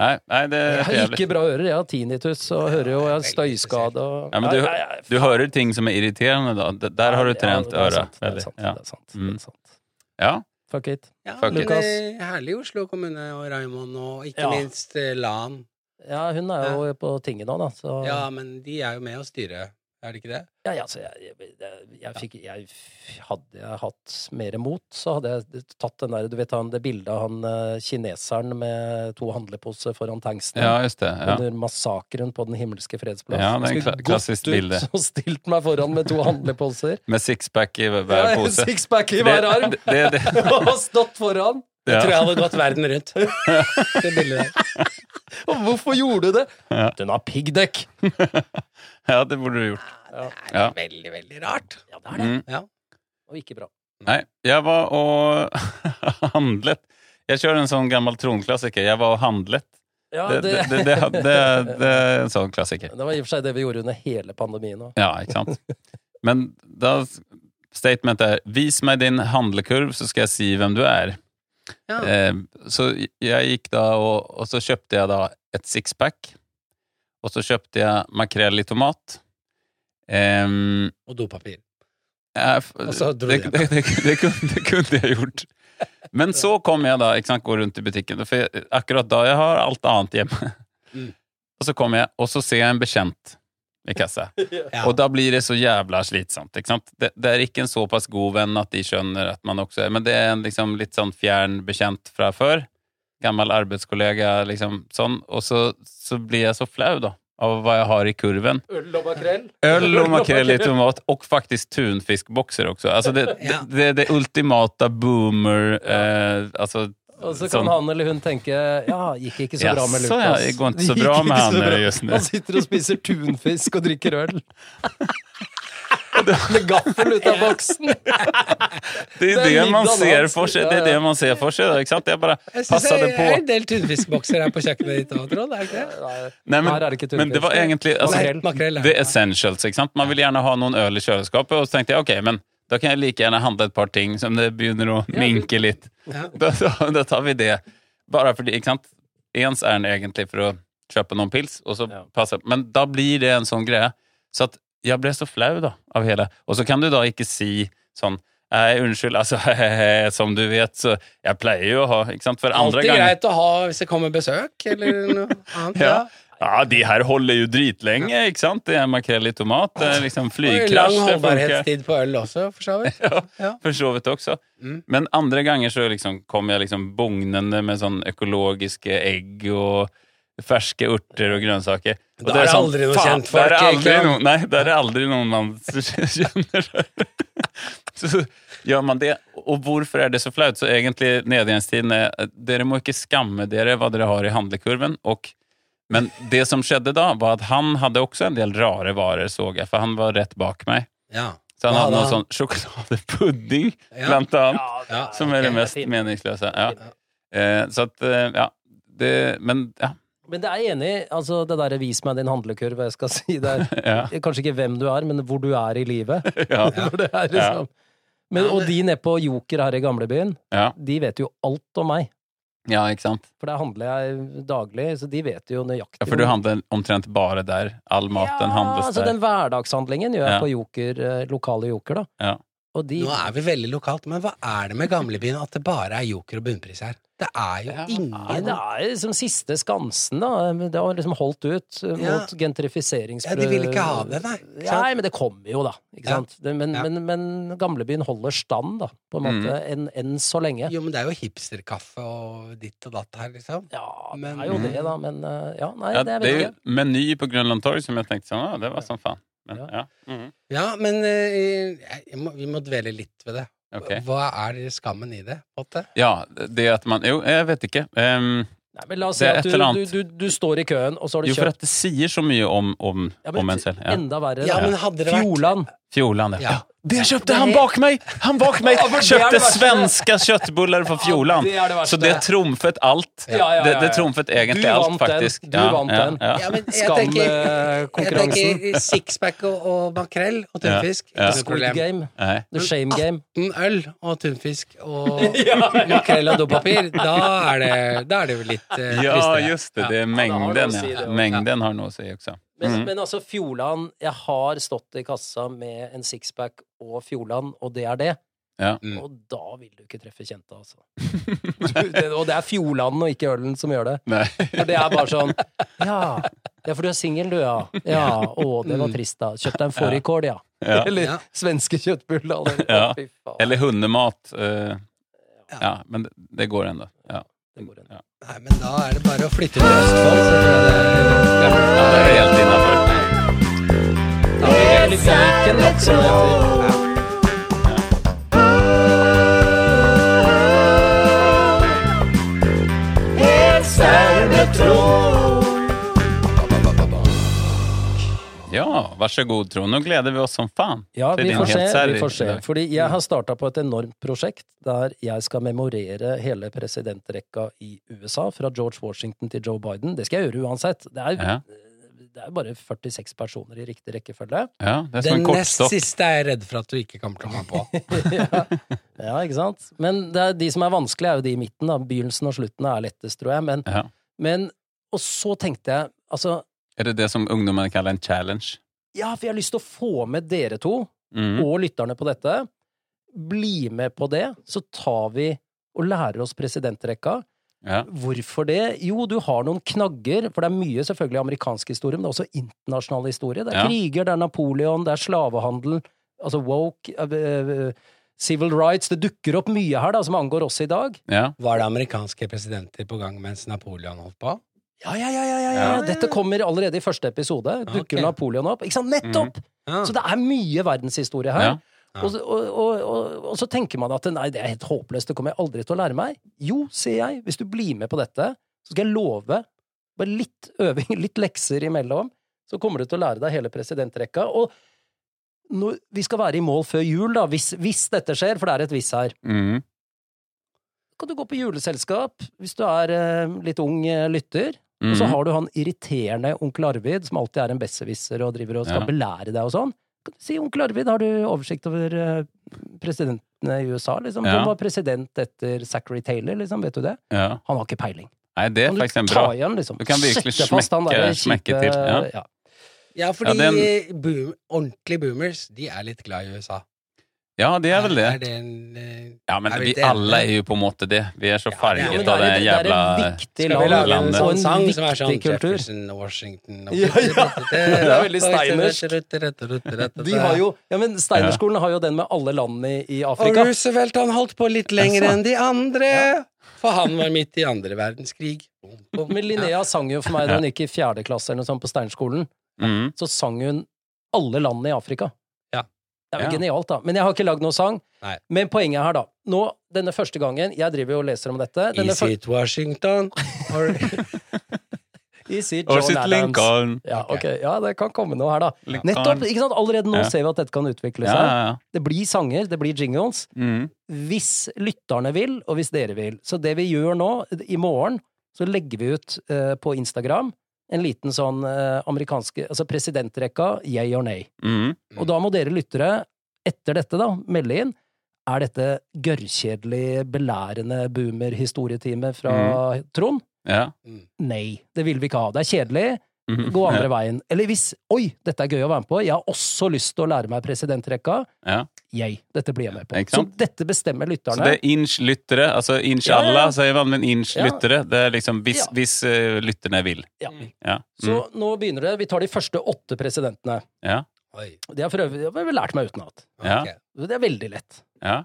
Speaker 1: Nei, nei, det
Speaker 2: Jeg
Speaker 1: er for
Speaker 2: har
Speaker 1: jævlig.
Speaker 2: ikke bra ører. Jeg har tinnitus og hører jo jeg har støyskade og
Speaker 1: Ja, men du-
Speaker 2: Nei, nei, nei,
Speaker 1: Du hører ting som er irriterende, da. D- Der har du
Speaker 2: ja,
Speaker 1: trent
Speaker 2: det er sant,
Speaker 1: øret.
Speaker 2: Det er
Speaker 1: veldig.
Speaker 2: sant.
Speaker 1: Ja.
Speaker 2: Det er sant,
Speaker 1: Mm.
Speaker 2: det er sant.
Speaker 1: ja.
Speaker 2: Fuck it.
Speaker 3: Ja,
Speaker 1: Fuck
Speaker 3: men
Speaker 2: it.
Speaker 3: eh, herlig Oslo kommune og Raymond, og ikke
Speaker 2: Ja.
Speaker 3: minst eh, LAN.
Speaker 2: Ja, hun er jo på tinget nå, da, så
Speaker 3: Ja, men de er jo med å styre, er det ikke det?
Speaker 2: Ja, ja, så jeg, jeg, jeg, jeg fikk jeg, f- Hadde jeg hatt mer mot, så hadde jeg tatt den der Du vet han, det bildet av han eh, kineseren med to handleposer foran tanksen
Speaker 1: ja, just det. Ja.
Speaker 2: under massakren på Den himmelske freds plass.
Speaker 1: Ja, det er en
Speaker 2: Jeg skulle
Speaker 1: kla- klassisk
Speaker 2: gått ut
Speaker 1: bilde.
Speaker 2: Og stilt meg foran med to handleposer.
Speaker 1: Med sixpack i hver
Speaker 2: Ja, en
Speaker 1: pose.
Speaker 2: Sixpack i hver arm!
Speaker 1: Det, det, det,
Speaker 2: Og stått foran.
Speaker 1: ja.
Speaker 3: Tror jeg hadde gått verden rundt. Det bildet der.
Speaker 2: Og hvorfor gjorde du det?
Speaker 1: Ja.
Speaker 2: Den har piggdekk!
Speaker 1: ja, det burde du gjort.
Speaker 3: Det
Speaker 1: Ja.
Speaker 3: er veldig, veldig rart.
Speaker 2: Ja, det er det.
Speaker 1: Mm.
Speaker 3: Ja.
Speaker 2: Og ikke bra.
Speaker 1: Nei, jeg var og handlet. Jeg kjører en sånn gammel tronklassiker. Jeg var og handlet.
Speaker 2: Ja,
Speaker 1: Det, det, det, det, det, det er en sånn klassiker.
Speaker 2: Det var i og for seg det vi gjorde under hele pandemien òg.
Speaker 1: Ja, ikke sant? Men da statementet er 'vis meg din handlekurv, så skal jeg si hvem du er'.
Speaker 3: Ja.
Speaker 1: Eh, så jeg gikk da, og, og så kjøpte jeg da et sixpack. Og så kjøpte jeg makrell i tomat. Ehm,
Speaker 3: Og dopapir.
Speaker 1: jeg f-
Speaker 3: så
Speaker 1: det,
Speaker 3: dro
Speaker 1: det,
Speaker 3: jeg.
Speaker 1: det, det, kunne, det kunne jeg gjort. Men så kom jeg da, ikke sant, gå rundt i butikken, for jeg, akkurat da jeg har alt annet hjemme.
Speaker 3: Mm.
Speaker 1: Og så kommer jeg, og så ser jeg en bekjent i kassa.
Speaker 3: Ja.
Speaker 1: Og da blir det så jævla slitsomt. Ikke sant? Det, det er ikke en såpass god venn at de skjønner at man også er Men det er en liksom litt sånn fjern bekjent fra før. Gammel arbeidskollega, liksom sånn. Og så, så blir jeg så flau, da, av hva jeg har i kurven.
Speaker 2: Øl og makrell?
Speaker 1: Øl og makrell i tomat, og faktisk tunfiskbokser også. Altså det, det,
Speaker 3: Ja.
Speaker 1: det, det ultimata boomer eh, Altså
Speaker 2: Og så kan
Speaker 1: sånn.
Speaker 2: han eller hun tenke ja, gikk ikke så bra med
Speaker 1: Jaså,
Speaker 2: Lukas.
Speaker 1: ja, det går ikke så
Speaker 2: gikk
Speaker 1: bra
Speaker 2: ikke
Speaker 1: med
Speaker 2: så
Speaker 1: han, eh,
Speaker 2: bra.
Speaker 1: just nå.
Speaker 2: Han sitter og spiser tunfisk og drikker øl. Med gaffel ut av boksen!
Speaker 1: Det er
Speaker 2: Det er
Speaker 1: det man
Speaker 2: middagen
Speaker 1: ser
Speaker 2: hans.
Speaker 1: for seg, det
Speaker 2: Ja,
Speaker 1: er
Speaker 2: ja.
Speaker 1: det man ser for seg. da, Ikke sant? Jeg bare
Speaker 3: Jeg syns det
Speaker 1: passade
Speaker 3: er
Speaker 1: på.
Speaker 3: en del tunfiskbokser her på kjøkkenet ditt òg, Trond. Er det ikke det?
Speaker 2: Nei,
Speaker 1: Nei, men,
Speaker 2: her er det ikke
Speaker 1: men det var
Speaker 2: tunfisk.
Speaker 1: egentlig altså,
Speaker 2: Makrell.
Speaker 3: Makrell.
Speaker 1: The
Speaker 3: ja.
Speaker 1: essentials, ikke sant? Man vil gjerne ha noen øl i kjøleskapet, og så tenkte jeg ok, men da kan jeg like gjerne handle et par ting som det begynner å minke litt.
Speaker 3: Ja.
Speaker 1: Da, da, da tar vi det. Bare fordi, ikke sant? Ens ærend egentlig for å kjøpe noen pils, og så
Speaker 2: Ja.
Speaker 1: passer Men da blir det en sånn greie. Så at jeg ble så flau da, av hele. Og så kan du da ikke si sånn Nei, unnskyld, altså Som du vet, så Jeg pleier jo å ha, ikke sant, for andre
Speaker 3: Alltid
Speaker 1: ganger
Speaker 3: greit å ha hvis det kommer besøk, eller noe annet.
Speaker 1: ja. ja, de her holder jo dritlenge, ikke sant? Det er makrell i tomat, det er liksom
Speaker 3: Og lang
Speaker 1: flykrasj det funker.
Speaker 3: holdbarhetstid på øl også, for så vidt. Ja.
Speaker 1: For så vidt også.
Speaker 3: Mm.
Speaker 1: Men andre ganger så liksom kom jeg liksom bugnende med sånn økologiske egg og ferske urter og grønnsaker. Og sånn,
Speaker 3: Da er det aldri noe
Speaker 1: faen,
Speaker 3: kjentfolk,
Speaker 1: da er det aldri
Speaker 3: ikke sant?
Speaker 1: noen, Nei, da er det aldri noen man kjenner. så gjør man det. Og hvorfor er det så flaut? Så egentlig nedgangstiden er at Dere må ikke skamme dere hva dere har i handlekurven. Og, men det som skjedde da, var at han hadde også en del rare varer, så jeg, for han var rett bak meg.
Speaker 3: Ja.
Speaker 1: Så han
Speaker 3: Hva
Speaker 1: hadde
Speaker 3: hadde
Speaker 1: noe
Speaker 3: han?
Speaker 1: sånn sjokoladepudding,
Speaker 3: Ja.
Speaker 1: blant annet,
Speaker 3: Ja,
Speaker 2: er-
Speaker 1: som er det
Speaker 2: ok,
Speaker 1: mest
Speaker 2: fint.
Speaker 1: meningsløse.
Speaker 2: Fint.
Speaker 1: Ja. Eh, så at, eh, ja det, Men ja.
Speaker 2: Men det er jeg enig i. Altså, det derre 'vis meg din handlekurv', jeg skal si det er
Speaker 1: ja,
Speaker 2: Kanskje ikke hvem du er, men hvor du er i livet.
Speaker 1: ja,
Speaker 2: Hvor det er, liksom. men, og de nede på Joker her i gamlebyen,
Speaker 1: ja.
Speaker 2: de vet jo alt om meg.
Speaker 1: ja ikke sant?
Speaker 2: For der handler jeg daglig, så de vet jo nøyaktig
Speaker 1: Ja, for du handler omtrent bare der. All maten handles
Speaker 2: altså,
Speaker 1: der.
Speaker 2: Den hverdagshandlingen gjør jeg
Speaker 1: Ja.
Speaker 2: på Joker, eh, lokale Joker, da.
Speaker 1: Ja.
Speaker 2: Og de
Speaker 3: Nå er vi veldig lokalt, men hva er det med gamlebyen at det bare er joker og bunnpris her? Det er jo
Speaker 1: Ja,
Speaker 2: Nei,
Speaker 3: ingen
Speaker 2: det er liksom siste skansen, da. Det har liksom holdt ut eh,
Speaker 3: Ja.
Speaker 2: mot gentrifiseringsprø...
Speaker 3: Ja, de vil ikke ha det, nei. Ikke sant?
Speaker 2: Nei, men det kommer jo, da. Ikke
Speaker 3: Ja.
Speaker 2: sant? Det, men,
Speaker 3: Ja.
Speaker 2: men, men gamlebyen holder stand, da, på en
Speaker 1: Mm.
Speaker 2: måte, enn enn så lenge.
Speaker 3: Jo, men det er jo hipsterkaffe og ditt og datt her, liksom.
Speaker 2: Ja, det
Speaker 3: Men-
Speaker 2: er jo det, da, men eh, Ja, nei,
Speaker 1: Ja, det
Speaker 2: det vet
Speaker 1: er
Speaker 2: jeg
Speaker 1: jo
Speaker 2: ikke.
Speaker 1: meny på Grønland torg som jeg tenkte sånn, ah, det var som faen. Men,
Speaker 2: Ja.
Speaker 1: ja. Mhm.
Speaker 3: Ja, men eh, jeg må, vi må dvele litt ved det.
Speaker 1: Ok.
Speaker 3: Hva er skammen i det? på en måte?
Speaker 1: ja, det at man Jo, jeg vet ikke. Ehm,
Speaker 2: Nei, men la oss si
Speaker 1: Det er
Speaker 2: at
Speaker 1: et
Speaker 2: du,
Speaker 1: eller
Speaker 2: du,
Speaker 1: annet.
Speaker 2: du, du står i køen, og så har du
Speaker 1: jo, for
Speaker 2: kjøpt
Speaker 1: at det sier så mye om, om,
Speaker 2: Ja, men
Speaker 1: om en selv. Ja.
Speaker 2: Enda verre.
Speaker 3: Ja,
Speaker 2: da.
Speaker 3: men hadde det vært
Speaker 2: Fjordland.
Speaker 1: Fjordland, ja.
Speaker 3: Ja.
Speaker 1: Det kjøpte han bak meg! Han bak meg
Speaker 2: Ja, for det er
Speaker 1: kjøpte
Speaker 2: det verste.
Speaker 1: svenske kjøttbuller fra Fjordland.
Speaker 2: Ja, det er det verste.
Speaker 1: Så det trumfet alt.
Speaker 2: Ja, ja, ja,
Speaker 1: Det, det
Speaker 2: ja.
Speaker 1: trumfet egentlig
Speaker 2: Du
Speaker 1: alt,
Speaker 2: vant den.
Speaker 1: faktisk.
Speaker 2: Du vant den.
Speaker 3: Ja, men jeg tenker- Jeg
Speaker 2: Skamkonkurransen.
Speaker 3: tenker sixpack og, og makrell og
Speaker 1: Ja,
Speaker 3: tunfisk.
Speaker 1: ja.
Speaker 3: Ikke noe
Speaker 2: Squid
Speaker 3: problem.
Speaker 2: game.
Speaker 1: Nei.
Speaker 2: The shame game.
Speaker 3: 18 øl og tunfisk og makrell og dopapir. Da er det, da er det jo litt eh,
Speaker 1: Ja,
Speaker 3: tristere.
Speaker 1: just det. Det er
Speaker 2: det har noe å
Speaker 1: mengden.
Speaker 2: si, det
Speaker 1: Ja.
Speaker 2: også.
Speaker 1: Mengden har noe å si også.
Speaker 2: Men,
Speaker 1: Mm.
Speaker 2: men altså, Fjordland Jeg har stått i kassa med en sixpack og Fjordland, og det er det.
Speaker 1: Ja.
Speaker 3: Mm.
Speaker 2: Og da vil du ikke treffe kjente, altså. Du, det, og det er Fjordland og ikke ølen som gjør det.
Speaker 1: Nei.
Speaker 2: For det er bare sånn Ja, ja for du er singel, du, ja. Ja, Å, det var trist, da. Kjøpte deg en fårikål, ja.
Speaker 1: Mm. Ja.
Speaker 2: Eller
Speaker 3: Ja.
Speaker 2: svenske kjøttbuller. eller-
Speaker 1: Ja.
Speaker 2: Fy faen.
Speaker 1: Eller hundemat. eh, ja, men det, det går ennå. Ja.
Speaker 2: Det går ennå.
Speaker 1: Ja.
Speaker 3: Nei, men da er det bare å flytte til Østfold. Så tror jeg det er
Speaker 1: Ja, det er helt innafor.
Speaker 2: Eller Viken, da, som det heter.
Speaker 1: Ja, vær så god, Trond. Nå gleder vi oss som faen.
Speaker 2: Ja,
Speaker 1: til
Speaker 2: vi
Speaker 1: din
Speaker 2: får,
Speaker 1: helt
Speaker 2: se,
Speaker 1: særlig Mm.
Speaker 2: vi får se.
Speaker 1: dag.
Speaker 2: Fordi jeg har starta på et enormt prosjekt der jeg skal memorere hele presidentrekka i USA, fra George Washington til Joe Biden. Det skal jeg gjøre uansett. Det er,
Speaker 1: Ja.
Speaker 2: det er bare 46 personer i riktig rekkefølge.
Speaker 1: Ja, det er som
Speaker 3: Den
Speaker 1: en
Speaker 3: nest
Speaker 1: kortstokk.
Speaker 3: siste er jeg redd for at du ikke kommer til å komme på.
Speaker 2: ja. ja, ikke sant? Men det er, de som er vanskelige, er jo de i midten. Da. Begynnelsen og slutten er lettest, tror jeg. Men,
Speaker 1: Ja.
Speaker 2: men Og så tenkte jeg, altså
Speaker 1: Er det det som ungdommene kaller en challenge?
Speaker 2: Ja, for jeg har lyst til å få med dere to.
Speaker 1: Mm.
Speaker 2: og lytterne på dette. Bli med på det, så tar vi og lærer oss presidentrekka.
Speaker 1: Ja.
Speaker 2: Hvorfor det? Jo, du har noen knagger, for det er mye selvfølgelig amerikansk historie, men det er også internasjonal historie. Det er
Speaker 1: Ja.
Speaker 2: kriger, det er Napoleon, det er slavehandel, altså woke, eh, eh, civil rights Det dukker opp mye her da, som angår oss i dag.
Speaker 1: ja.
Speaker 3: Var det amerikanske presidenter på gang mens Napoleon holdt på?
Speaker 2: Ja, ja, ja, ja, ja, ja.
Speaker 1: Ja.
Speaker 2: Eh, Dette kommer allerede i første episode. Dukker
Speaker 3: ok.
Speaker 2: Napoleon opp? Ikke sant? Nettopp!
Speaker 3: Ja.
Speaker 2: Så det er mye verdenshistorie her.
Speaker 1: Ja.
Speaker 3: Ja.
Speaker 2: Og, så- og, og, og, og så tenker man at nei, det er helt håpløst, det kommer jeg aldri til å lære meg. Jo, sier jeg, hvis du blir med på dette, så skal jeg love, bare litt øving, litt lekser imellom, så kommer du til å lære deg hele presidentrekka. Og når, vi skal være i mål før jul, da, hvis, hvis dette skjer, for det er et hvis her.
Speaker 1: Mm.
Speaker 2: Kan du gå på juleselskap hvis du er eh, litt ung eh, lytter? Og så
Speaker 1: Mhm.
Speaker 2: har du han irriterende onkel Arvid, som alltid er en besserwisser og driver og skal
Speaker 1: Ja.
Speaker 2: belære deg og sånn. Kan du si, onkel Arvid, har du oversikt over eh, presidentene i USA, liksom?
Speaker 1: Ja.
Speaker 2: Hvem var president etter Zachary Taylor, liksom? Vet du det?
Speaker 1: ja.
Speaker 2: Han har ikke peiling.
Speaker 1: Nei, det er
Speaker 2: Kan du
Speaker 1: faktisk en
Speaker 2: ta
Speaker 1: bra
Speaker 2: i han, liksom?
Speaker 1: Du kan virkelig
Speaker 2: Sette fast han
Speaker 1: smekke-
Speaker 2: der
Speaker 1: smekke
Speaker 2: kjipe-
Speaker 1: til, ja.
Speaker 2: ja.
Speaker 3: Ja, fordi
Speaker 1: Ja, den-
Speaker 3: boom, ordentlige boomers, de er litt glad i USA.
Speaker 1: Ja, det er vel det.
Speaker 3: Er det en, eh,
Speaker 1: Ja, men
Speaker 3: er vi
Speaker 1: vi
Speaker 3: ikke
Speaker 1: alle
Speaker 3: enige?
Speaker 1: er jo på en måte det. Vi er så
Speaker 3: Ja,
Speaker 1: farget
Speaker 2: men
Speaker 1: av
Speaker 2: det er
Speaker 1: den
Speaker 2: et- det er
Speaker 1: jævla
Speaker 2: et viktig
Speaker 3: Skal vi lage en
Speaker 2: land liksom,
Speaker 3: sånn
Speaker 2: og en
Speaker 3: sang som er sånn
Speaker 2: viktig kultur.
Speaker 3: Jefferson, Washington og
Speaker 2: Ja, ja. Det er veldig steinersk. De har jo, ja, men Steinerskolen har jo den med alle landene i, i
Speaker 3: Og
Speaker 2: Afrika.
Speaker 3: Roosevelt han holdt på litt lenger enn de andre, for han var midt i andre verdenskrig. Bom, bom.
Speaker 2: Men
Speaker 3: Ja.
Speaker 2: Linnea sang jo for meg da hun gikk i fjerde klasse eller noe sånt på Steinerskolen,
Speaker 1: Mm.
Speaker 2: så sang hun alle landene i Afrika.
Speaker 3: Ja.
Speaker 2: Det er jo
Speaker 1: Ja.
Speaker 2: genialt, da. Men jeg har ikke lagd noen sang.
Speaker 3: Nei.
Speaker 2: Men poenget her, da. Nå, denne første gangen Jeg driver jo og leser om dette. Denne
Speaker 3: Is it Washington? Or...
Speaker 2: fyr- Is it
Speaker 1: Og
Speaker 2: John
Speaker 1: sitt
Speaker 2: Adams?
Speaker 1: Lincoln.
Speaker 2: Ja, ok. ja, det kan komme noe her, da.
Speaker 1: Lincoln.
Speaker 2: Nettopp! ikke sant? Allerede nå
Speaker 1: Ja.
Speaker 2: ser vi at dette kan utvikle
Speaker 1: Ja,
Speaker 2: seg.
Speaker 1: ja, ja.
Speaker 2: Det blir sanger, det blir jingles.
Speaker 1: Mm.
Speaker 2: hvis lytterne vil, og hvis dere vil. Så det vi gjør nå, i morgen, så legger vi ut eh, på Instagram en liten sånn eh, amerikanske Altså presidentrekka, yay or nay.
Speaker 1: Mm.
Speaker 2: Og da må dere lyttere, etter dette, da, melde inn. Er dette gørrkjedelig, belærende boomer-historietime fra
Speaker 1: Mm.
Speaker 2: Trond?
Speaker 1: ja.
Speaker 2: Nei, det vil vi ikke ha. Det er kjedelig.
Speaker 1: Mhm.
Speaker 2: Gå andre veien. Eller hvis Oi, dette er gøy å være med på. Jeg har også lyst til å lære meg presidentrekka.
Speaker 1: Ja.
Speaker 2: Yay. Dette blir jeg med på.
Speaker 1: Ikke
Speaker 2: Så
Speaker 1: sant?
Speaker 2: dette bestemmer lytterne.
Speaker 1: Så det er inch-lyttere, altså
Speaker 2: Ja,
Speaker 1: inshallah,
Speaker 2: ja, ja.
Speaker 1: sier man, men
Speaker 2: Ja.
Speaker 1: inch-lyttere, det er liksom hvis,
Speaker 2: Ja.
Speaker 1: hvis eh, lytterne vil.
Speaker 2: Ja.
Speaker 1: Ja. Mhm.
Speaker 2: Så
Speaker 1: Mm.
Speaker 2: nå begynner det. Vi tar de første åtte presidentene.
Speaker 3: Oi,
Speaker 2: Det har for øvrig det har jeg lært meg utenat.
Speaker 1: Ja.
Speaker 3: ok.
Speaker 2: Det er veldig lett.
Speaker 1: Ja.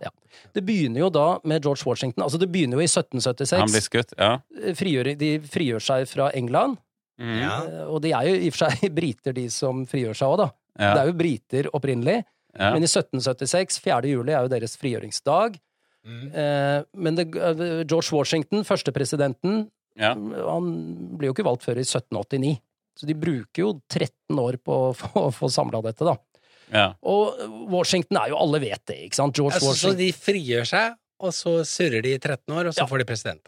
Speaker 2: Det begynner jo da med George Washington. Altså det begynner jo i
Speaker 1: Han blir
Speaker 2: 1776.
Speaker 1: skutt, ja.
Speaker 2: Frigjør, de frigjør seg fra England.
Speaker 1: Mm.
Speaker 3: Ja.
Speaker 2: Eh, Og de er jo i og for seg briter, de som frigjør seg òg, da.
Speaker 1: Ja.
Speaker 2: Det er jo briter opprinnelig.
Speaker 1: Ja.
Speaker 2: Men i 1776, 4. juli, er jo deres frigjøringsdag.
Speaker 3: Mm.
Speaker 2: Eh, Men det, eh, George Washington, førstepresidenten,
Speaker 1: Ja.
Speaker 2: han ble jo ikke valgt før i 1789. Så de bruker jo 13 år på å få, få samla dette, da.
Speaker 1: Ja.
Speaker 2: Og Washington er jo Alle vet det, ikke sant? George
Speaker 3: Altså, så
Speaker 2: Washington.
Speaker 3: de frigjør seg, og så surrer de i 13 år, og så
Speaker 2: Ja.
Speaker 3: får de president.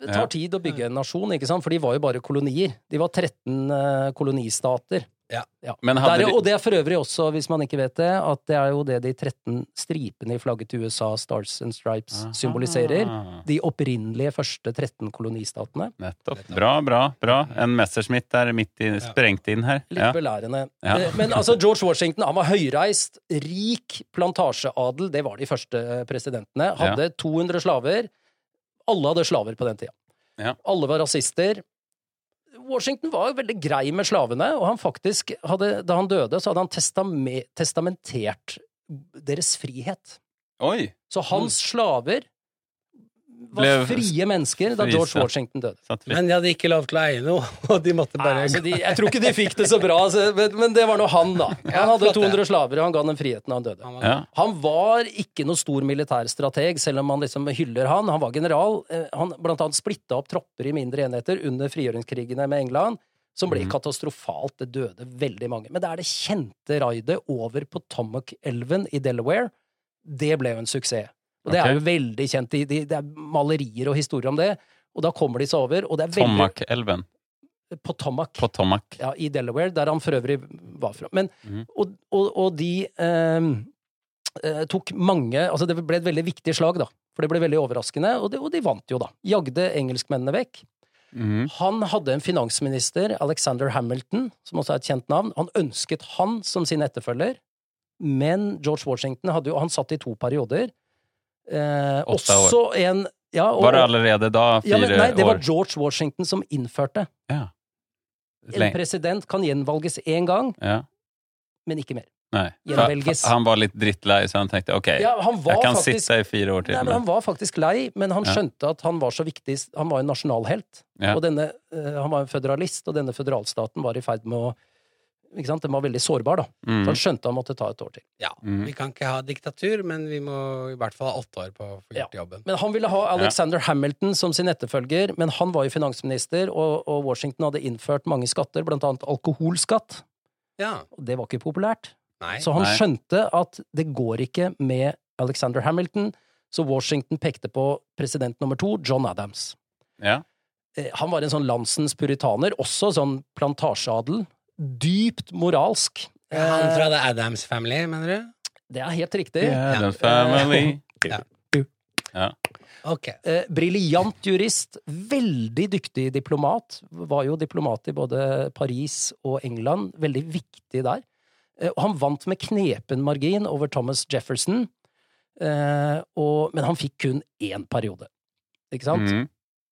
Speaker 2: Det tar tid å bygge en nasjon, ikke sant? For de var jo bare kolonier. De var 13 eh, kolonistater.
Speaker 3: Ja.
Speaker 1: Men
Speaker 2: Der,
Speaker 1: hadde
Speaker 2: er-
Speaker 1: de-
Speaker 2: og det er for øvrig også, hvis man ikke vet det, at det er jo det de 13 stripene i flagget til USA, Stars and Stripes, symboliserer.
Speaker 1: Ah.
Speaker 2: De opprinnelige første 13 kolonistatene.
Speaker 1: Nettopp. Bra, bra, bra. En Messerschmitt er midt i, sprengt inn her.
Speaker 2: Litt
Speaker 1: Ja.
Speaker 2: belærende.
Speaker 1: Ja.
Speaker 2: Eh, Men altså, George Washington han var høyreist, rik plantasjeadel. Det var de første eh, presidentene. Hadde 200 slaver. Alle hadde slaver på den tida.
Speaker 1: Ja.
Speaker 2: Alle var rasister. Washington var veldig grei med slavene, og han faktisk hadde, da han døde, så hadde han testame, testamentert deres frihet.
Speaker 1: Oi!
Speaker 2: Så hans slaver var
Speaker 1: Mm. Ble
Speaker 2: frie mennesker da George
Speaker 1: frista.
Speaker 2: Washington døde.
Speaker 1: Satt vi.
Speaker 3: Men de hadde ikke lov til å eie noe, og de måtte
Speaker 2: Nei,
Speaker 3: bare
Speaker 2: altså de, jeg tror ikke de fikk det så bra, så, men, men det var nå han, da.
Speaker 3: Ja,
Speaker 2: Han hadde
Speaker 3: flott, det.
Speaker 2: 200 slaver, og han ga den friheten da han døde.
Speaker 3: Han var-
Speaker 1: Ja.
Speaker 2: Han var ikke noe stor militærstrateg, selv om man liksom hyller han. Han var general. Eh, Han blant annet splitta opp tropper i mindre enheter under frigjøringskrigene med England, som ble
Speaker 1: Mhm.
Speaker 2: katastrofalt. Det døde veldig mange. Men det er det kjente raidet over Potomac-elven i Delaware. Det ble jo en suksess. Og det
Speaker 1: Ok.
Speaker 2: er jo veldig kjent. De, de, det er malerier og historier om det. Og da kommer de seg over, og det er veldig
Speaker 1: Tomac-elven.
Speaker 2: Potomac
Speaker 1: Potomac.
Speaker 2: ja, i Delaware, der han for øvrig var fra. Men,
Speaker 1: Mhm.
Speaker 2: og, og, og de ehm, eh, tok mange Altså, det ble et veldig viktig slag, da. For det ble veldig overraskende, og de, og de vant jo, da. Jagde engelskmennene vekk.
Speaker 1: Mhm.
Speaker 2: Han hadde en finansminister, Alexander Hamilton, som også er et kjent navn. Han ønsket han som sin etterfølger, men George Washington hadde jo Han satt i to perioder. Eh,
Speaker 1: Åtte år.
Speaker 2: også en ja, og,
Speaker 1: Var det allerede da
Speaker 2: ja,
Speaker 1: fire
Speaker 2: men, Nei, det var
Speaker 1: år?
Speaker 2: George Washington som innførte.
Speaker 1: Ja.
Speaker 2: En president kan gjenvalges én gang,
Speaker 1: Ja.
Speaker 2: men ikke mer.
Speaker 1: Nei.
Speaker 2: Gjenvelges.
Speaker 1: Fa- fa- Han var litt drittlei, så han tenkte ok,
Speaker 2: Ja, han var
Speaker 1: Eh, jeg kan
Speaker 2: faktisk,
Speaker 1: sitte i fire år til.
Speaker 2: nei, men
Speaker 1: men-
Speaker 2: han var faktisk lei, men han
Speaker 1: Ja.
Speaker 2: skjønte at han var så viktig Han var en nasjonalhelt.
Speaker 1: Ja.
Speaker 2: Og denne, eh, han var en føderalist, og denne føderalstaten var i ferd med å ikke sant? Den var veldig sårbar, da.
Speaker 1: Mhm.
Speaker 2: Så han skjønte han måtte ta et år til.
Speaker 3: Ja.
Speaker 1: Mhm.
Speaker 3: Vi kan ikke ha diktatur, men vi må i hvert fall ha åtte år på å få gjort jobben.
Speaker 2: Men han ville ha Alexander Hamilton som sin etterfølger, men han var jo finansminister, og, og Washington hadde innført mange skatter, blant annet alkoholskatt.
Speaker 3: Ja.
Speaker 2: Og det var ikke populært.
Speaker 3: Nei.
Speaker 2: Så han
Speaker 1: Nei.
Speaker 2: skjønte at det går ikke med Alexander Hamilton, så Washington pekte på president nummer to, John Adams.
Speaker 1: Ja.
Speaker 2: Eh, Han var en sånn landsens puritaner, også sånn plantasjeadel. Dypt moralsk.
Speaker 3: Han
Speaker 2: Eh,
Speaker 3: fra The Adams Family, mener du?
Speaker 2: Det er helt riktig.
Speaker 1: Yeah,
Speaker 3: Ja.
Speaker 1: the family.
Speaker 3: Ok.
Speaker 2: Eh, Briljant jurist, veldig dyktig diplomat. Var jo diplomat i både Paris og England. Veldig viktig der. Eh, Og han vant med knepen margin over Thomas Jefferson, eh, og, men han fikk kun én periode. Ikke sant?
Speaker 1: Mm.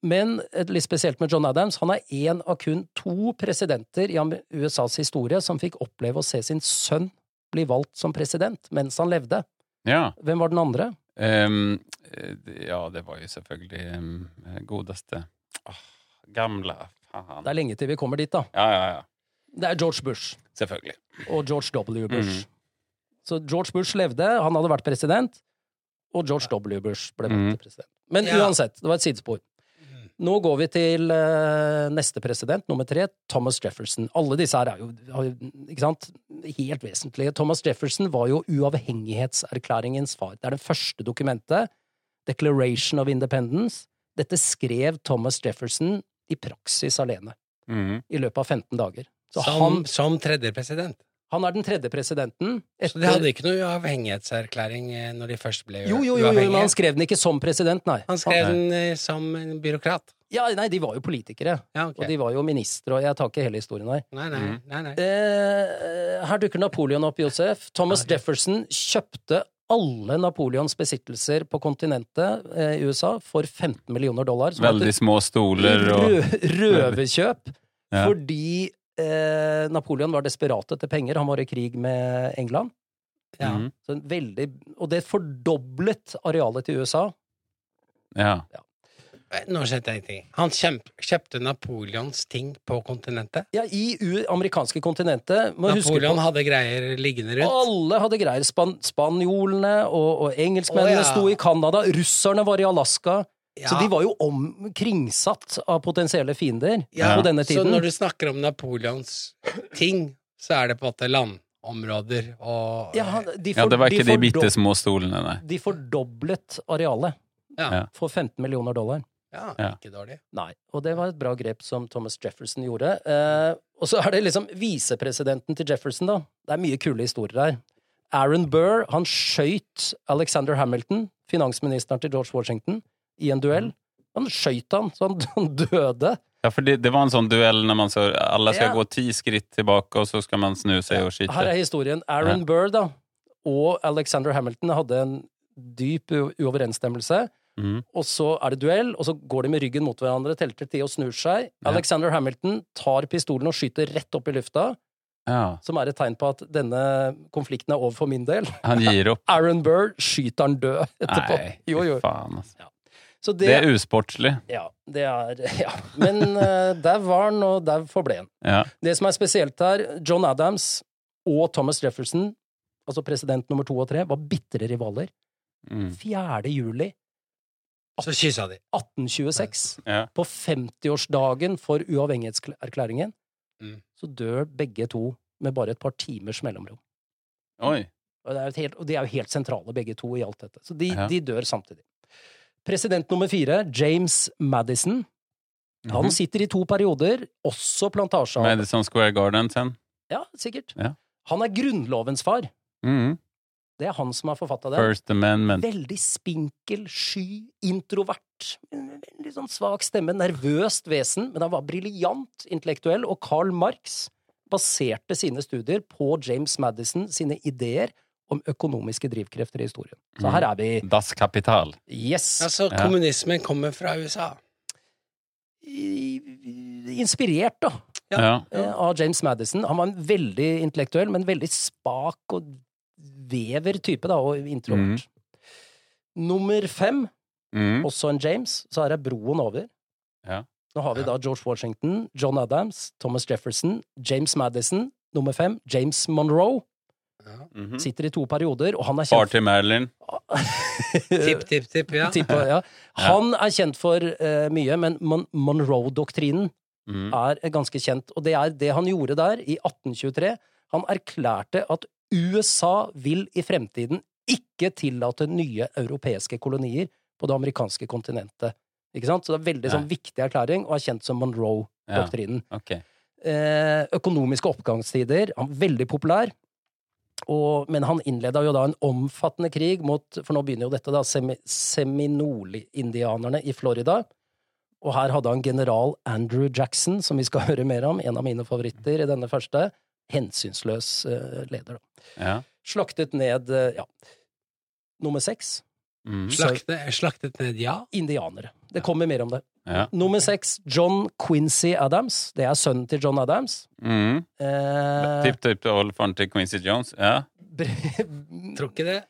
Speaker 2: Men eh, litt spesielt med John Adams, han er én av kun to presidenter i am- USAs historie som fikk oppleve å se sin sønn bli valgt som president mens han levde.
Speaker 1: Ja.
Speaker 2: Hvem var den andre?
Speaker 1: Ehm, eh, ja, det var jo selvfølgelig ehm, godeste Åh, Gamla faen.
Speaker 2: Det er lenge til vi kommer dit, da.
Speaker 1: Ja, ja, ja.
Speaker 2: Det er George Bush
Speaker 1: Selvfølgelig.
Speaker 2: og George W. Bush. Så George Bush levde, han hadde vært president, og George W. Bush ble valgt
Speaker 1: Mhm.
Speaker 2: til president. Men
Speaker 3: Ja.
Speaker 2: uansett, det var et sidespor. Nå går vi til eh, neste president, nummer tre, Thomas Jefferson. Alle disse her er jo har jo- ikke sant, helt vesentlige. Thomas Jefferson var jo uavhengighetserklæringens far. Det er det første dokumentet, Declaration of Independence. Dette skrev Thomas Jefferson i praksis alene
Speaker 1: Mhm.
Speaker 2: i løpet av 15 dager. Så
Speaker 3: som,
Speaker 2: han,
Speaker 3: som tredje president.
Speaker 2: han er den tredje presidenten.
Speaker 3: Så de hadde ikke noe avhengighetserklæring eh, når de først ble
Speaker 2: jo, jo, jo, jo,
Speaker 3: uavhengige?
Speaker 2: men han skrev den ikke som president, nei.
Speaker 3: Han skrev den eh, som en byråkrat.
Speaker 2: Ja, nei, de var jo politikere.
Speaker 3: Ja, ok.
Speaker 2: Og de Mm. var jo ministre, og jeg tar ikke hele historien her.
Speaker 3: Nei, nei,
Speaker 1: Mhm.
Speaker 3: nei, nei.
Speaker 2: Eh, her dukker Napoleon opp, Josef. Thomas
Speaker 3: Ah, Ja, det-
Speaker 2: Jefferson kjøpte alle Napoleons besittelser på kontinentet eh, i USA for 15 millioner dollar. som
Speaker 1: Veldig små stoler og
Speaker 2: Rø- Røverkjøp.
Speaker 1: Ja.
Speaker 2: Fordi eh, Napoleon var desperat etter penger. Han var i krig med England.
Speaker 3: Ja.
Speaker 1: Mhm.
Speaker 2: Så en veldig, og det fordoblet arealet til USA.
Speaker 1: Ja.
Speaker 3: Eh, Nå skjønte jeg ingenting. Han kjemp, kjøpte Napoleons ting på kontinentet.
Speaker 2: Ja, I u amerikanske kontinentet må huske
Speaker 3: Napoleon
Speaker 2: på,
Speaker 3: hadde greier liggende rundt.
Speaker 2: Alle hadde greier. Span spanjolene og, og engelskmennene
Speaker 3: Å, ja.
Speaker 2: sto i Canada. Russerne var i Alaska.
Speaker 3: Ja.
Speaker 2: Så de var jo om, kringsatt av potensielle fiender
Speaker 1: Ja,
Speaker 2: på denne
Speaker 3: Så
Speaker 2: tiden.
Speaker 3: når du snakker om Napoleons ting, så er det på en måte landområder og
Speaker 2: ja, han- de
Speaker 1: ja,
Speaker 2: for-
Speaker 1: det var
Speaker 2: de
Speaker 1: ikke de
Speaker 2: fordob-
Speaker 1: bitte små stolene, nei.
Speaker 2: De fordoblet arealet
Speaker 3: ja.
Speaker 1: Ja.
Speaker 2: for 15 millioner dollar.
Speaker 3: Ja,
Speaker 1: Ja.
Speaker 3: ikke dårlig.
Speaker 2: Nei, og det var et bra grep som Thomas Jefferson gjorde. Eh, og så er det liksom visepresidenten til Jefferson, da. Det er mye kule historier her. Aaron Burr, han skøyt Alexander Hamilton, finansministeren til George Washington, i en duell. Han skøyt han, så han, han døde.
Speaker 1: Ja, for det, det var en sånn duell når man så alle skal
Speaker 2: Ja.
Speaker 1: gå ti skritt tilbake, og så skal man snu seg og
Speaker 2: Her
Speaker 1: skyte.
Speaker 2: er historien. Aaron Burr da, og Alexander Hamilton hadde en dyp u- uoverensstemmelse.
Speaker 1: Mhm.
Speaker 2: Og så er det duell, og så går de med ryggen mot hverandre, teller til ti og snur seg.
Speaker 1: Ja.
Speaker 2: Alexander Hamilton tar pistolen og skyter rett opp i lufta.
Speaker 1: Ja.
Speaker 2: som er et tegn på at denne konflikten er over for min del.
Speaker 1: Han gir opp.
Speaker 2: Aaron Burr skyter han død etterpå.
Speaker 1: Nei,
Speaker 2: jo, jo.
Speaker 1: fy faen. altså.
Speaker 2: Så det,
Speaker 1: Det er usportslig.
Speaker 2: Ja, det er Ja. Men uh, der var han, og der forble han.
Speaker 1: Ja.
Speaker 2: Det som er spesielt her, John Adams og Thomas Jefferson, altså president nummer to og tre, var bitre rivaler.
Speaker 1: Mm.
Speaker 2: 4. juli
Speaker 3: Så kyssa de.
Speaker 2: 1826,
Speaker 1: Ja.
Speaker 2: på 50-årsdagen for uavhengighetserklæringen,
Speaker 3: Mm.
Speaker 2: så dør begge to med bare et par timers mellomrom.
Speaker 1: Oi.
Speaker 2: Og, det er et helt, og de er jo helt sentrale, begge to, i alt dette. Så de,
Speaker 1: Ja.
Speaker 2: de dør samtidig. President nummer fire, James Madison, han
Speaker 1: Mhm.
Speaker 2: sitter i to perioder, også plantasjealder.
Speaker 1: Madison sånn Square Garden sen.
Speaker 2: Ja, sikkert.
Speaker 1: Ja.
Speaker 2: Han er grunnlovens far.
Speaker 1: Mhm.
Speaker 2: Det er han som har forfatta det.
Speaker 1: First Amendment.
Speaker 2: Veldig spinkel, sky, introvert. En Veldig sånn svak stemme, nervøst vesen, men han var briljant intellektuell, og Carl Marx baserte sine studier på James Madison sine ideer om økonomiske drivkrefter i historien. Så
Speaker 1: Mhm.
Speaker 2: her er vi
Speaker 1: Das Kapital.
Speaker 2: Yes.
Speaker 3: Altså,
Speaker 1: Ja.
Speaker 3: kommunismen kommer fra USA.
Speaker 2: I- i- Inspirert, da,
Speaker 3: Ja.
Speaker 1: Ja.
Speaker 2: eh, av James Madison. Han var en veldig intellektuell, men veldig spak og vever type, da, og introvert. Nummer fem,
Speaker 1: Mm.
Speaker 2: også en James, så her er broen over.
Speaker 1: Ja.
Speaker 2: Nå har vi
Speaker 3: Ja.
Speaker 2: da George Washington, John Adams, Thomas Jefferson, James Madison. Nummer fem, James Monroe,
Speaker 3: Ja.
Speaker 1: Mhm.
Speaker 2: sitter i to perioder, og han er
Speaker 1: Far
Speaker 2: kjent
Speaker 1: til Marilyn.
Speaker 3: Tipp, tipp, tipp, ja.
Speaker 2: Eh, Tipp, ja. Han er kjent for eh, mye, men Mon Monroe-doktrinen
Speaker 1: Mm.
Speaker 2: er ganske kjent. Og det er det han gjorde der, i 1823. Han erklærte at USA vil i fremtiden ikke tillate nye europeiske kolonier på det amerikanske kontinentet. Ikke sant? Så det er veldig sånn viktig erklæring, og er kjent som
Speaker 1: Ja,
Speaker 2: Monroe-doktrinen.
Speaker 1: ok.
Speaker 2: Eh, økonomiske oppgangstider, han er veldig populær. Og, men han innleda jo da en omfattende krig mot, for nå begynner jo dette, da, semi, seminole-indianerne i Florida. Og her hadde han general Andrew Jackson, som vi skal høre mer om, en av mine favoritter i denne første. hensynsløs eh, leder. Da.
Speaker 1: Ja.
Speaker 2: Slaktet ned eh, ja, nummer seks
Speaker 1: Mm.
Speaker 3: Slakte, slaktet ned, ja.
Speaker 2: indianere. Det kommer mer om det.
Speaker 1: ja.
Speaker 2: Nummer seks John Quincy Adams. Det er sønnen til John Adams.
Speaker 1: Mm.
Speaker 2: Eh,
Speaker 1: Tipp tipp til oldefaren til Quincy Jones. Ja.
Speaker 2: bre-
Speaker 3: Tror ikke det.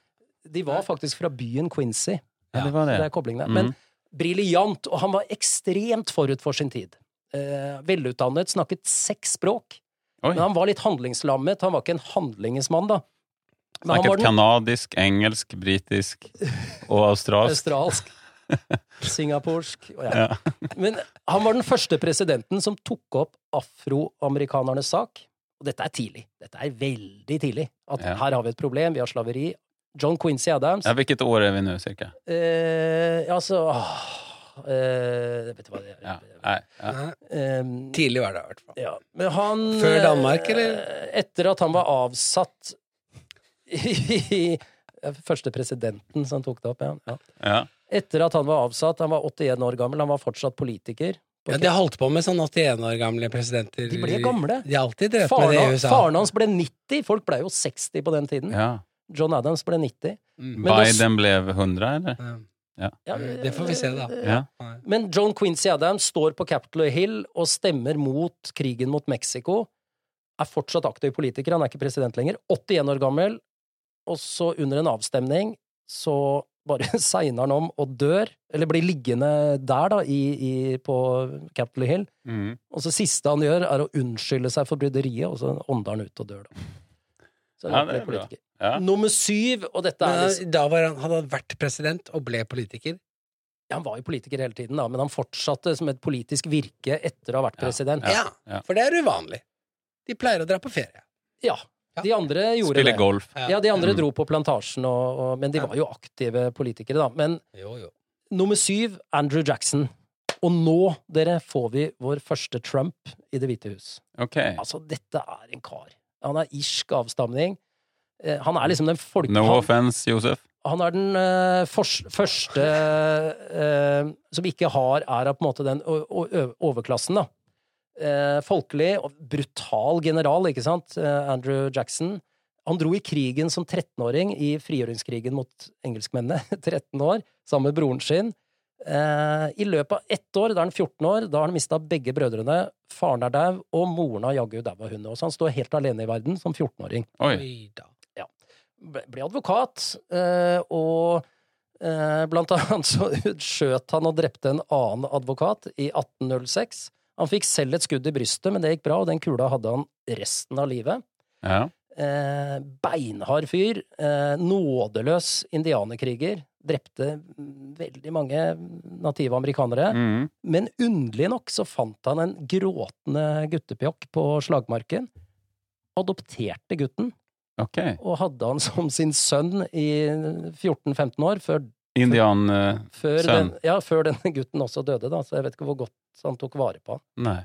Speaker 2: de var faktisk fra byen Quincy.
Speaker 1: ja, det var
Speaker 2: Så det
Speaker 1: det.
Speaker 2: er koblingene.
Speaker 1: Mm.
Speaker 2: Men briljant, og han var ekstremt forut for sin tid. Eh, velutdannet, snakket seks språk.
Speaker 1: Oi.
Speaker 2: Men han var litt handlingslammet. Han var ikke en handlingesmann, da. Men han
Speaker 1: Snakket
Speaker 2: var den
Speaker 1: kanadisk, engelsk, britisk og australsk.
Speaker 2: australsk, singaporsk og ja.
Speaker 1: Ja.
Speaker 2: Men han var den første presidenten som tok opp afroamerikanernes sak. Og dette er tidlig. Dette er veldig tidlig. At
Speaker 1: Ja.
Speaker 2: her har vi et problem, vi har slaveri. John Quincy Adams
Speaker 1: Ja, hvilket år er vi nå, cirka?
Speaker 2: eh, Altså åh, eh, Vet du hva det er?
Speaker 1: Ja. Nei, ja.
Speaker 3: Nei,
Speaker 2: Eh,
Speaker 3: Tidlig var det i hvert fall.
Speaker 2: Ja, men han
Speaker 3: Før Danmark, eller?
Speaker 2: eh, Etter at han var avsatt i Første presidenten som tok det opp, ja. ja.
Speaker 1: Ja.
Speaker 2: Etter at han var avsatt, han var 81 år gammel, han var fortsatt politiker.
Speaker 3: Ja, de har holdt på med sånn 81 år gamle presidenter.
Speaker 2: De ble gamle.
Speaker 3: De har alltid drevet med
Speaker 2: Faren,
Speaker 3: det i
Speaker 2: han-
Speaker 3: USA.
Speaker 2: faren hans ble 90, folk ble jo 60 på den tiden.
Speaker 1: ja.
Speaker 2: John Adams ble 90.
Speaker 3: Mm.
Speaker 2: Men da-
Speaker 1: Biden ble 100, eller?
Speaker 3: Ja.
Speaker 2: Ja,
Speaker 3: Mm,
Speaker 2: eh,
Speaker 3: Det får vi se, da.
Speaker 1: Ja.
Speaker 3: Nei.
Speaker 2: Men John Quincy Adams står på Capitol Hill og stemmer mot krigen mot Mexico. Er fortsatt aktiv politiker, han er ikke president lenger. 81 år gammel. Og så, under en avstemning, så bare segner han om og dør. Eller blir liggende der, da, i, i, på Capitol Hill.
Speaker 1: Mm.
Speaker 2: Og så siste han gjør, er å unnskylde seg for bryderiet, og så ånder han ut og dør, da. Så han
Speaker 1: Ja, det
Speaker 2: ble
Speaker 1: er bra.
Speaker 2: politiker.
Speaker 1: Ja.
Speaker 2: Nummer syv, og dette
Speaker 3: Men eh,
Speaker 2: er liksom
Speaker 3: han- da var han, hadde han vært president og ble politiker.
Speaker 2: Ja, Han var jo politiker hele tiden, da, men han fortsatte som et politisk virke etter å ha vært
Speaker 1: Ja,
Speaker 2: president.
Speaker 3: Ja,
Speaker 1: ja.
Speaker 3: for det er uvanlig. De pleier å dra på ferie.
Speaker 2: Ja.
Speaker 3: Ja.
Speaker 2: De andre gjorde
Speaker 1: Spille
Speaker 2: det.
Speaker 1: golf.
Speaker 2: Ja, de andre
Speaker 1: Mm.
Speaker 2: dro på plantasjen, og, og, men de
Speaker 3: Ja.
Speaker 2: var jo aktive politikere, da. Men
Speaker 3: Jo, jo.
Speaker 2: nummer syv, Andrew Jackson. Og nå, dere, får vi vår første Trump i Det hvite hus.
Speaker 1: Ok.
Speaker 2: Altså, dette er en kar. Han er irsk avstamning. Eh, Han er liksom den folke...
Speaker 1: No
Speaker 2: han,
Speaker 1: offense, Josef.
Speaker 2: han er den eh, fors, første eh, som ikke har Er av på en måte den o- o- ø- overklassen, da. Eh, folkelig og brutal general, ikke sant? Eh, Andrew Jackson. Han dro i krigen som 13-åring, i frigjøringskrigen mot engelskmennene. 13 år, sammen med broren sin. Eh, I løpet av ett år, da er han 14 år, da har han mista begge brødrene. Faren er dau, og moren har jaggu daua, hun også. Han står helt alene i verden som 14-åring
Speaker 1: Oi.
Speaker 3: Oi da.
Speaker 2: ble ble advokat, eh, og eh, blant annet så skjøt han og drepte en annen advokat i 1806. Han fikk selv et skudd i brystet, men det gikk bra, og den kula hadde han resten av livet.
Speaker 1: Ja.
Speaker 2: Eh, beinhard fyr, eh, nådeløs indianerkriger, drepte mm, veldig mange native amerikanere.
Speaker 1: Mm.
Speaker 2: Men underlig nok så fant han en gråtende guttepjokk på slagmarken, adopterte gutten,
Speaker 1: Ok.
Speaker 2: og hadde han som sin sønn i 14-15 år, før,
Speaker 1: Indian eh,
Speaker 2: før, den,
Speaker 1: Sønn.
Speaker 2: ja, før denne gutten også døde, da, så jeg vet ikke hvor godt han tok vare på han.
Speaker 1: Nei.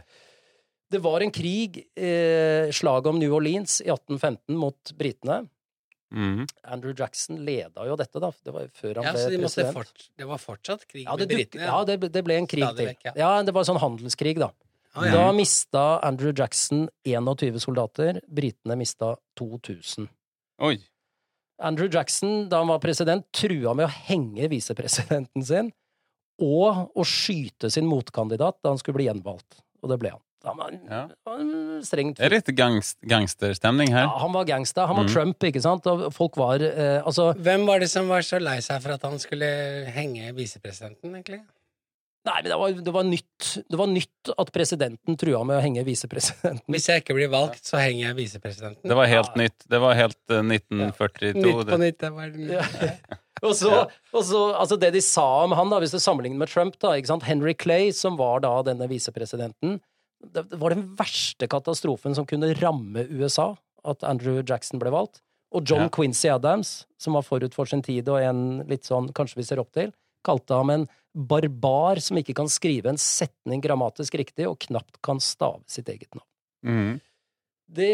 Speaker 2: Det var en krig, eh, slaget om New Orleans i 1815 mot britene.
Speaker 1: Mm.
Speaker 2: Andrew Jackson leda jo dette, da, det var jo før han
Speaker 3: Ja, så
Speaker 2: ble
Speaker 3: de måtte
Speaker 2: president.
Speaker 3: fort, det var fortsatt krig
Speaker 2: Ja, det,
Speaker 3: med
Speaker 2: duk,
Speaker 3: britene.
Speaker 2: ja det, det ble en krig
Speaker 3: Stadig
Speaker 2: til.
Speaker 3: vekk, ja.
Speaker 2: Ja, det var sånn handelskrig, da.
Speaker 3: Ah, ja.
Speaker 2: Da mista Andrew Jackson 21 soldater, britene mista 2000.
Speaker 1: Oi.
Speaker 2: Andrew Jackson, da han var president, trua med å henge visepresidenten sin og å skyte sin motkandidat da han skulle bli gjenvalgt. Og det ble han. Han var en,
Speaker 1: Ja.
Speaker 2: en strengt
Speaker 1: Det er litt gangst gangsterstemning
Speaker 2: ja,
Speaker 1: her.
Speaker 2: Han var gangsta. Han var
Speaker 1: Mm.
Speaker 2: Trump, ikke sant? Og folk var eh, Altså,
Speaker 3: Hvem var det som var så lei seg for at han skulle henge visepresidenten, egentlig?
Speaker 2: nei, men det var, det var nytt. Det var nytt at presidenten trua med å henge visepresidenten.
Speaker 3: Hvis jeg ikke blir valgt, så henger jeg visepresidenten.
Speaker 1: Det var helt
Speaker 2: Ja.
Speaker 1: nytt. Det var helt eh,
Speaker 3: Nytt
Speaker 1: 1942.
Speaker 3: på
Speaker 1: det.
Speaker 3: nytt. Det var
Speaker 2: Ja. Og så, og så altså Det de sa om han, da, hvis du sammenligner med Trump da, ikke sant? Henry Clay, som var da denne visepresidenten Det det var den verste katastrofen som kunne ramme USA, at Andrew Jackson ble valgt. Og
Speaker 1: Ja.
Speaker 2: John Quincy Adams, som var forut for sin tid og en litt sånn kanskje vi ser opp til, kalte ham en barbar som ikke kan skrive en setning grammatisk riktig og knapt kan stave sitt eget navn.
Speaker 1: Mm.
Speaker 2: Det,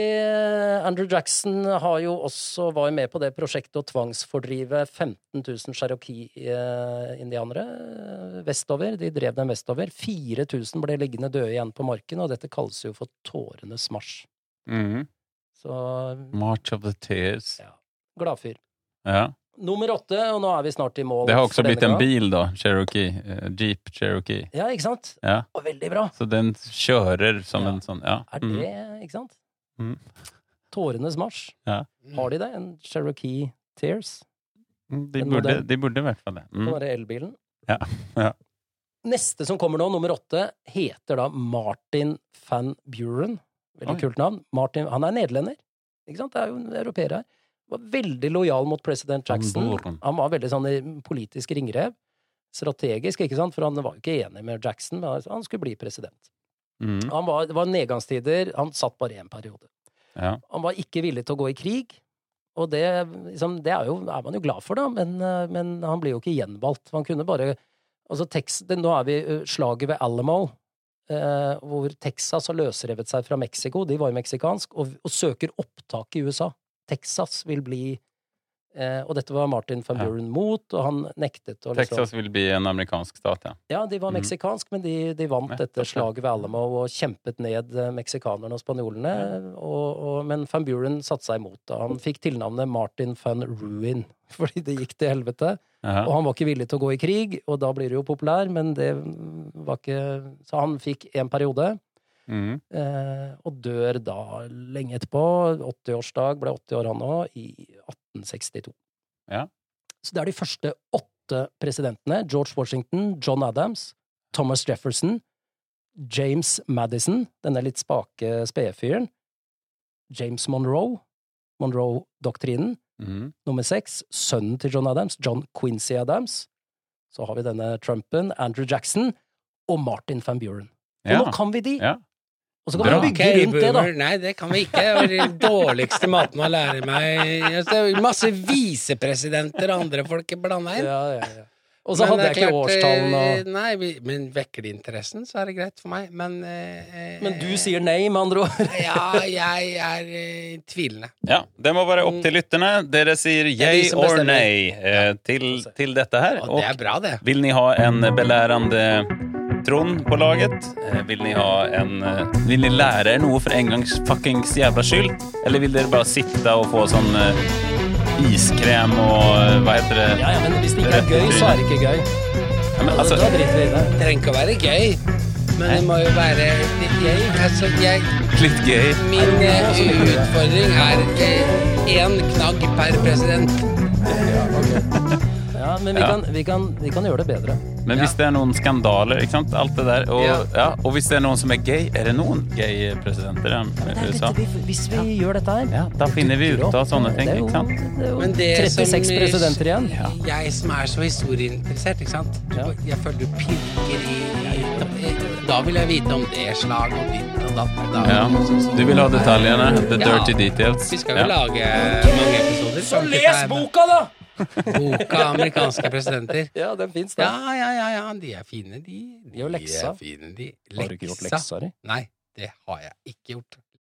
Speaker 2: Andrew Jackson har jo også, var jo med på det prosjektet å tvangsfordrive 15 000 cherokee-indianere eh, vestover. De drev dem vestover. 4000 ble liggende døde igjen på marken, og dette kalles jo for tårenes marsj.
Speaker 1: Mm.
Speaker 2: Så
Speaker 1: March of the Tears.
Speaker 2: gladfyr.
Speaker 1: Ja.
Speaker 2: Nummer åtte, og nå er vi snart i mål.
Speaker 1: Det har
Speaker 2: for
Speaker 1: også blitt
Speaker 2: denne
Speaker 1: en
Speaker 2: gang.
Speaker 1: bil, da. Cherokee. Eh, Jeep Cherokee.
Speaker 2: Ja, ikke sant?
Speaker 1: Ja.
Speaker 2: Og veldig bra.
Speaker 1: Så den kjører som
Speaker 2: Ja.
Speaker 1: en sånn Ja.
Speaker 2: Er
Speaker 1: Mm.
Speaker 2: det, ikke sant?
Speaker 1: Mm.
Speaker 2: Tårenes marsj.
Speaker 1: Ja.
Speaker 2: Har de det? En Cherokee Tears?
Speaker 1: Mm, De
Speaker 2: en
Speaker 1: burde,
Speaker 2: modell?
Speaker 1: de burde i hvert fall det.
Speaker 2: Kan
Speaker 1: Mm.
Speaker 2: være elbilen.
Speaker 1: Ja, ja.
Speaker 2: Neste som kommer nå, nummer åtte, heter da Martin van Buren. Veldig
Speaker 1: Oi.
Speaker 2: kult navn. Martin, han er nederlender. Ikke sant? Det er jo en europeer her. Var veldig lojal mot president
Speaker 1: Van
Speaker 2: Jackson.
Speaker 1: Buren.
Speaker 2: Han var veldig sånn i politisk ringrev. Strategisk, ikke sant? For han var jo ikke enig med Jackson, men han skulle bli president.
Speaker 1: Mm.
Speaker 2: Han var, det var nedgangstider. Han satt bare én periode.
Speaker 1: Ja.
Speaker 2: Han var ikke villig til å gå i krig. Og det, liksom, det er, jo, er man jo glad for, da, men, eh, men han blir jo ikke gjenvalgt. Han kunne bare Altså, Tex, det, nå er vi eh, slaget ved Alamo, eh, hvor Texas har løsrevet seg fra Mexico. De var jo meksikansk, og, og søker opptak i USA. Texas vil bli eh, Og dette var Martin van
Speaker 1: Ja.
Speaker 2: Buren mot, og han nektet å liksom-
Speaker 1: Texas vil bli en amerikansk stat, ja.
Speaker 2: ja, de var
Speaker 1: Mhm.
Speaker 2: meksikansk, men de, de vant
Speaker 1: Nettopp,
Speaker 2: dette slaget ved Alamo og kjempet ned eh, meksikanerne og spanjolene. Og, og, men van Buren satte seg imot. Da. Han fikk tilnavnet Martin van Ruin, fordi det gikk til helvete. Og
Speaker 1: ja.
Speaker 2: han var ikke villig til å gå i krig, og da blir du jo populær, men det var ikke Så han fikk en periode,
Speaker 1: Mm.
Speaker 2: eh, og dør da lenge etterpå. 80-årsdag, ble 80 år han òg, i 1862.
Speaker 1: Ja.
Speaker 2: Så det er de første åtte presidentene. George Washington, John Adams, Thomas Jefferson, James Madison, denne litt spake spedfyren, James Monroe, Monroe-doktrinen,
Speaker 1: Mm.
Speaker 2: nummer seks, sønnen til John Adams, John Quincy Adams. Så har vi denne Trumpen, Andrew Jackson og Martin van Buren. Og
Speaker 1: Ja.
Speaker 2: nå kan vi de!
Speaker 1: Ja.
Speaker 2: Og så kan
Speaker 1: Bra.
Speaker 2: vi bygge
Speaker 3: Ok,
Speaker 2: rundt det, da.
Speaker 3: boomer. Nei, det kan vi ikke. Det var den dårligste måten å lære meg Altså, Det er masse visepresidenter og andre folk blanda inn.
Speaker 2: Ja, ja, ja. Og så
Speaker 3: Men
Speaker 2: hadde
Speaker 3: det
Speaker 2: jeg
Speaker 3: er
Speaker 2: ikke
Speaker 3: klart,
Speaker 2: årstallene
Speaker 3: eh,
Speaker 2: og
Speaker 3: Nei, vi, men vekker det interessen, så er det greit for meg. Men eh,
Speaker 2: Men du sier nei, med andre ord.
Speaker 3: Ja, jeg er eh, tvilende.
Speaker 1: ja. Det må være opp til lytterne. Dere sier
Speaker 2: er de
Speaker 1: yay
Speaker 2: som
Speaker 1: or
Speaker 2: bestemmer.
Speaker 1: nay eh, til, til dette her.
Speaker 3: Og
Speaker 1: Og
Speaker 3: det er bra, det.
Speaker 1: Vill ni ha en belærende Trond på laget? Eh, Vill ni, ha en, eh, vill ni lære er noe for en gangs fuckings jævla skyld? Eller vil dere bare sitte og få sånn eh, iskrem og eh, hva heter det?
Speaker 2: Ja, ja, men hvis det ikke er gøy, så er det ikke gøy.
Speaker 1: Ja, men,
Speaker 2: Altså,
Speaker 1: altså,
Speaker 2: da driter vi i det.
Speaker 3: Det trenger ikke å være gøy, men det må jo være litt gøy. Altså, jeg,
Speaker 1: litt gøy.
Speaker 3: min eh,
Speaker 1: sånn
Speaker 3: utfordring er eh, én knagg per president.
Speaker 2: Ja, men vi,
Speaker 1: Ja.
Speaker 2: Kan, vi, kan, vi kan gjøre det bedre.
Speaker 1: Men hvis det er noen skandaler, ikke sant? Alt det der. Og, ja.
Speaker 3: Ja.
Speaker 1: og hvis det er noen som er gay, er det noen gay presidenter i eh, USA?
Speaker 2: hvis vi gjør dette her
Speaker 1: Ja, da finner vi ut av sånne ting, ikke sant?
Speaker 2: Det er jo
Speaker 3: Men det som- eh,
Speaker 2: 36 presidenter igjen.
Speaker 3: Jeg som er så historieinteressert, ikke sant? Du-
Speaker 2: Ja.
Speaker 3: Jeg føler du pirker i Da vil jeg vite om det slaget og ditt og datt. Da.
Speaker 1: Ja. Du vil ha detaljene? The dirty details?
Speaker 3: Vi skal
Speaker 1: Ja.
Speaker 3: jo lage mange episoder.
Speaker 2: Så les boka, da!
Speaker 3: Boka amerikanske presidenter.
Speaker 2: Ja, den fins,
Speaker 3: Ja, ja, ja, ja, de er fine, de.
Speaker 2: Gjør leksa.
Speaker 3: De er fine, de.
Speaker 2: Har du ikke gjort
Speaker 3: Leksa?
Speaker 2: leksa di?
Speaker 3: Nei, det har jeg ikke gjort.